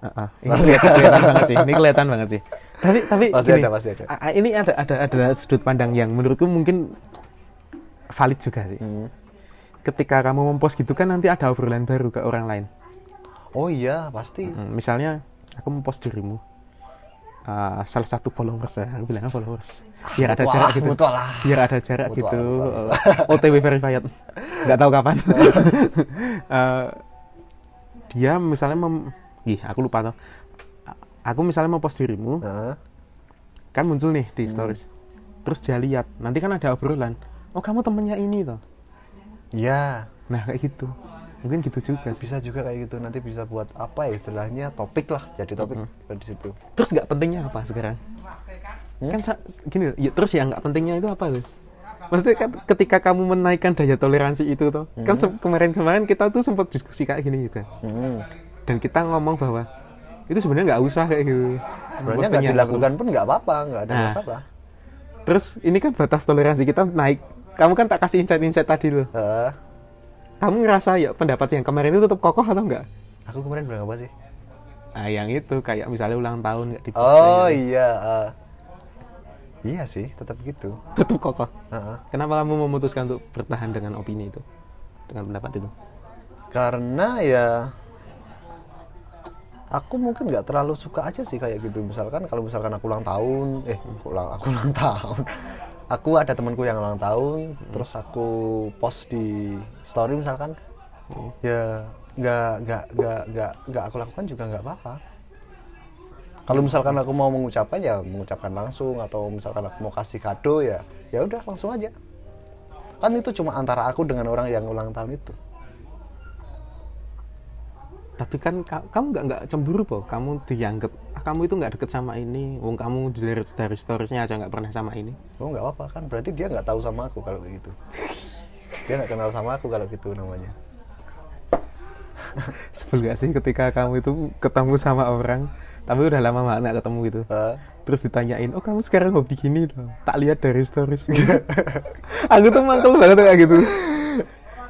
Speaker 9: Heeh. ini kelihatan, kelihatan banget sih ini kelihatan banget sih tapi tapi
Speaker 7: Pasti
Speaker 9: gini,
Speaker 7: ada, pasti ada.
Speaker 9: a- a- ini ada ada ada sudut pandang yang menurutku mungkin valid juga sih
Speaker 7: Hmm.
Speaker 9: ketika kamu mempost gitu kan nanti ada overline baru ke orang lain
Speaker 7: oh iya pasti
Speaker 9: Hmm, misalnya aku mempost dirimu Ah, salah satu followers ya aku bilangnya followers biar ada
Speaker 7: mutual
Speaker 9: jarak
Speaker 7: lah,
Speaker 9: gitu
Speaker 7: mutual lah.
Speaker 9: biar ada jarak
Speaker 7: Mutual,
Speaker 9: gitu
Speaker 7: mutual,
Speaker 9: Eh, OTW verified nggak tahu kapan Eh, dia misalnya mem ih aku lupa tau aku misalnya mempost dirimu
Speaker 7: Heeh.
Speaker 9: kan muncul nih di stories terus dia lihat nanti kan ada obrolan oh kamu temennya ini toh
Speaker 7: iya
Speaker 9: nah kayak gitu mungkin gitu juga sih
Speaker 7: bisa juga kayak gitu nanti bisa buat apa ya istilahnya topik lah jadi topik dari situ
Speaker 9: terus nggak pentingnya apa sekarang kan sa- gini loh, ya, terus yang nggak pentingnya itu apa tuh maksudnya kan ketika kamu menaikkan daya toleransi itu tuh kan se- kemarin-kemarin kita tuh sempat diskusi kayak gini juga Hmm. dan kita ngomong bahwa itu sebenarnya nggak usah kayak gitu
Speaker 7: sebenarnya nggak
Speaker 9: Postingnya.
Speaker 7: dilakukan pun nggak apa-apa nggak ada
Speaker 9: Nah.
Speaker 7: masalah
Speaker 9: terus ini kan batas toleransi kita naik kamu kan tak kasih insight-insight tadi loh
Speaker 7: Heeh.
Speaker 9: kamu ngerasa ya pendapat yang kemarin itu tetap kokoh atau enggak
Speaker 7: aku kemarin bilang apa sih
Speaker 9: ah yang itu kayak misalnya ulang tahun nggak gitu. di
Speaker 7: oh iya eh. iya sih tetap gitu
Speaker 9: tetap kokoh
Speaker 7: Heeh.
Speaker 9: Kenapa kamu memutuskan untuk bertahan dengan opini itu? Dengan pendapat itu?
Speaker 7: karena ya aku mungkin nggak terlalu suka aja sih kayak gitu misalkan kalau misalkan aku ulang tahun eh aku ulang aku ulang tahun aku ada temanku yang ulang tahun terus aku post di story misalkan ya nggak nggak nggak nggak nggak aku lakukan juga nggak apa-apa kalau misalkan aku mau mengucapkan ya mengucapkan langsung atau misalkan aku mau kasih kado ya ya udah langsung aja kan itu cuma antara aku dengan orang yang ulang tahun itu
Speaker 9: Tapi kan ka- kamu nggak nggak cemburu po, kamu dianggap ah, kamu itu nggak deket sama ini, wong kamu dari dari storiesnya aja nggak pernah sama ini.
Speaker 7: Oh nggak apa-apa kan berarti dia nggak tahu sama aku kalau kayak gitu. Dia nggak kenal sama aku kalau gitu namanya.
Speaker 9: Sebel nggak sih ketika kamu itu ketemu sama orang, tapi udah lama banget nggak ketemu gitu.
Speaker 7: Eh,
Speaker 9: Terus ditanyain, oh kamu sekarang hobi gini loh, tak lihat dari stories. Aku tuh mangkel banget kayak gitu.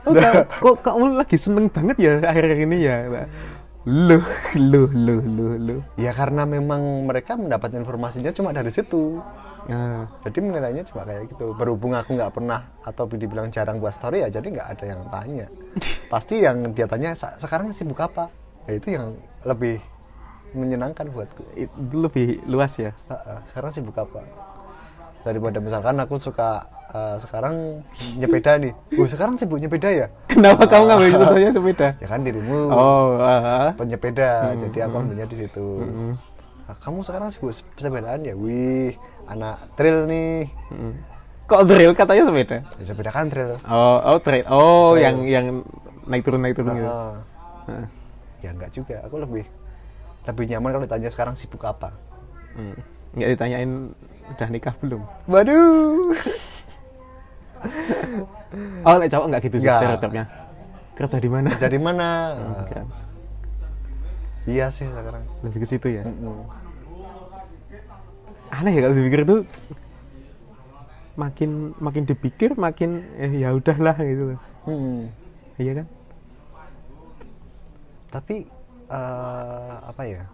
Speaker 9: Oh, ka- kok kamu lagi seneng banget ya akhir-akhir ini ya? Loh, loh, loh, loh, loh.
Speaker 7: ya karena memang mereka mendapat informasinya cuma dari situ.
Speaker 9: Ah.
Speaker 7: Jadi menilainya cuma kayak gitu. Berhubung aku nggak pernah atau dibilang jarang buat story ya jadi nggak ada yang tanya. Pasti yang dia tanya "Sa- sekarang sibuk apa? Ya itu yang lebih menyenangkan buatku.
Speaker 9: itu lebih luas ya
Speaker 7: Heeh, sekarang sibuk apa? Daripada misalkan aku suka eh, sekarang nyepeda nih. Oh sekarang sibuk nyepeda ya?
Speaker 9: kenapa kamu ngambil contohnya sepeda
Speaker 7: Ya kan dirimu.
Speaker 9: oh ah.
Speaker 7: penyepeda jadi aku ambilnya di situ Nah, kamu sekarang sibuk sep- sepedaan ya wih anak trail nih
Speaker 9: Hmm. kok trail katanya sepeda
Speaker 7: ya, sepeda kan trail
Speaker 9: oh oh trail oh yang yang naik turun naik turun gitu
Speaker 7: Ah.
Speaker 9: Heeh.
Speaker 7: ya enggak juga aku lebih lebih nyaman kalau ditanya sekarang sibuk apa
Speaker 9: Hmm. nggak ditanyain udah nikah belum
Speaker 7: waduh
Speaker 9: oh nek cowok nggak gitu sih
Speaker 7: Nggak.
Speaker 9: stereotipnya kerja di mana
Speaker 7: jadi mana Ah,
Speaker 9: Kan.
Speaker 7: iya sih sekarang
Speaker 9: lebih ke situ ya
Speaker 7: Mm-mm.
Speaker 9: aneh ya kalau dipikir tuh makin makin dipikir makin eh, ya udahlah gitu loh
Speaker 7: Mm-mm.
Speaker 9: iya kan
Speaker 7: tapi eh, apa ya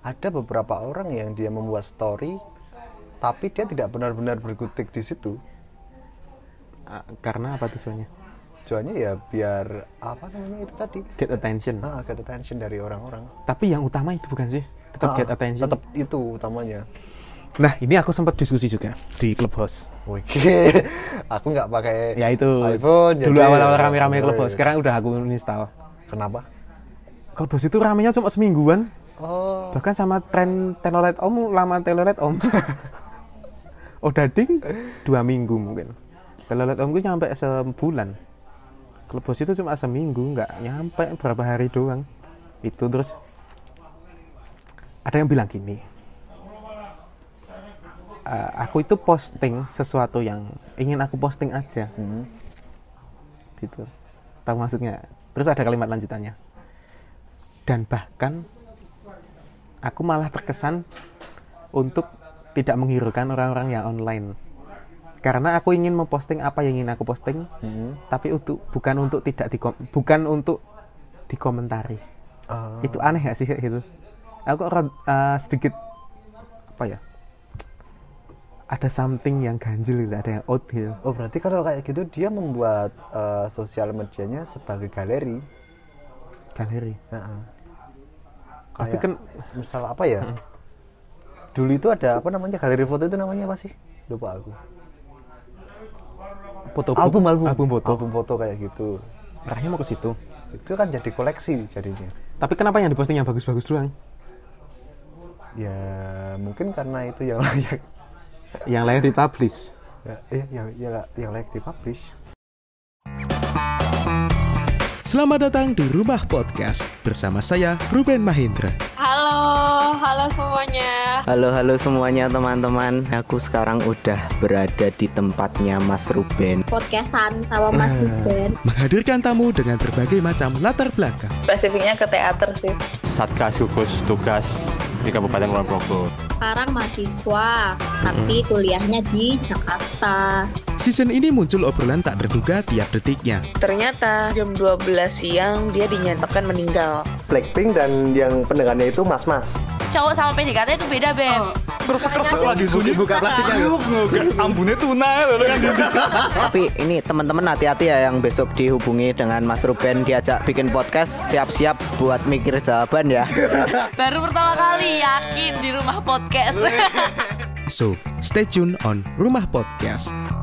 Speaker 7: ada beberapa orang yang dia membuat story tapi dia tidak benar-benar berkutik di situ
Speaker 9: Ah, karena apa tujuannya
Speaker 7: tujuannya ya biar apa namanya itu tadi
Speaker 9: get attention
Speaker 7: ah get attention dari orang-orang Ah,
Speaker 9: tapi yang utama itu bukan sih Ah. tetap get attention
Speaker 7: tetap itu utamanya
Speaker 9: Nah, ini aku sempat diskusi juga di Clubhouse.
Speaker 7: Oke, aku nggak pakai
Speaker 9: Ya itu
Speaker 7: iPhone.
Speaker 9: dulu
Speaker 7: jadi- ya,
Speaker 9: awal-awal rame-rame Clubhouse. Sekarang udah aku install.
Speaker 7: Kenapa?
Speaker 9: Clubhouse itu ramenya cuma semingguan,
Speaker 7: Oh,
Speaker 9: bahkan sama tren telolet om, lama telolet om. oh dading dua minggu mungkin. Telolet omku nyampe sebulan. Clubhouse itu cuma seminggu, nggak nyampe berapa hari doang. Itu terus ada yang bilang gini. eh, aku itu posting sesuatu yang ingin aku posting aja
Speaker 7: Hmm.
Speaker 9: gitu tahu maksudnya terus ada kalimat lanjutannya dan bahkan aku malah terkesan untuk tidak menghiraukan orang-orang yang online karena aku ingin memposting apa yang ingin aku posting
Speaker 7: Mm-hmm.
Speaker 9: tapi untuk bukan untuk tidak dikom bukan untuk dikomentari
Speaker 7: Ah.
Speaker 9: itu aneh gak sih kayak gitu aku ro- eh, sedikit apa ya ada something yang ganjil gitu, ada yang out gitu
Speaker 7: Oh berarti kalau kayak gitu dia membuat eh, sosial medianya sebagai galeri.
Speaker 9: galeri
Speaker 7: Heeh.
Speaker 9: tapi
Speaker 7: Kayak-
Speaker 9: kan
Speaker 7: misal apa ya dulu itu ada apa namanya galeri foto itu namanya apa sih lupa aku
Speaker 9: foto
Speaker 7: album album
Speaker 9: album foto
Speaker 7: album foto kayak gitu
Speaker 9: arahnya mau ke situ
Speaker 7: itu kan jadi koleksi jadinya
Speaker 9: tapi kenapa yang diposting yang bagus-bagus doang
Speaker 7: ya mungkin karena itu yang layak
Speaker 9: yang lain dipublish
Speaker 7: ya, eh, yang, yang yang layak dipublish
Speaker 1: Selamat datang di Rumah Podcast bersama saya Ruben Mahindra.
Speaker 2: Halo, halo semuanya.
Speaker 3: Halo halo semuanya teman-teman. Aku sekarang udah berada di tempatnya Mas Ruben.
Speaker 4: podcastan sama Mas Ruben.
Speaker 1: Menghadirkan tamu dengan berbagai macam latar belakang.
Speaker 8: Spesifiknya ke teater sih.
Speaker 6: Satgas gugus tugas di Kabupaten Kulon Progo.
Speaker 4: Sekarang mahasiswa, tapi kuliahnya di Jakarta.
Speaker 1: Season ini muncul obrolan tak terduga tiap detiknya.
Speaker 5: Ternyata jam 12 siang dia dinyatakan meninggal.
Speaker 3: Blackpink dan yang pendengarnya itu mas-mas.
Speaker 8: Cowok sama PDKT itu beda, Beb.
Speaker 2: Oh,
Speaker 6: Terus terus lagi bunyi
Speaker 9: buka plastiknya gitu.
Speaker 6: ambune tunai loh kan.
Speaker 3: Tapi ini teman-teman hati-hati ya yang besok dihubungi dengan Mas Ruben diajak bikin podcast siap-siap buat mikir jawaban ya.
Speaker 8: Baru pertama kali yakin di rumah podcast.
Speaker 1: So, stay tune on Rumah Podcast.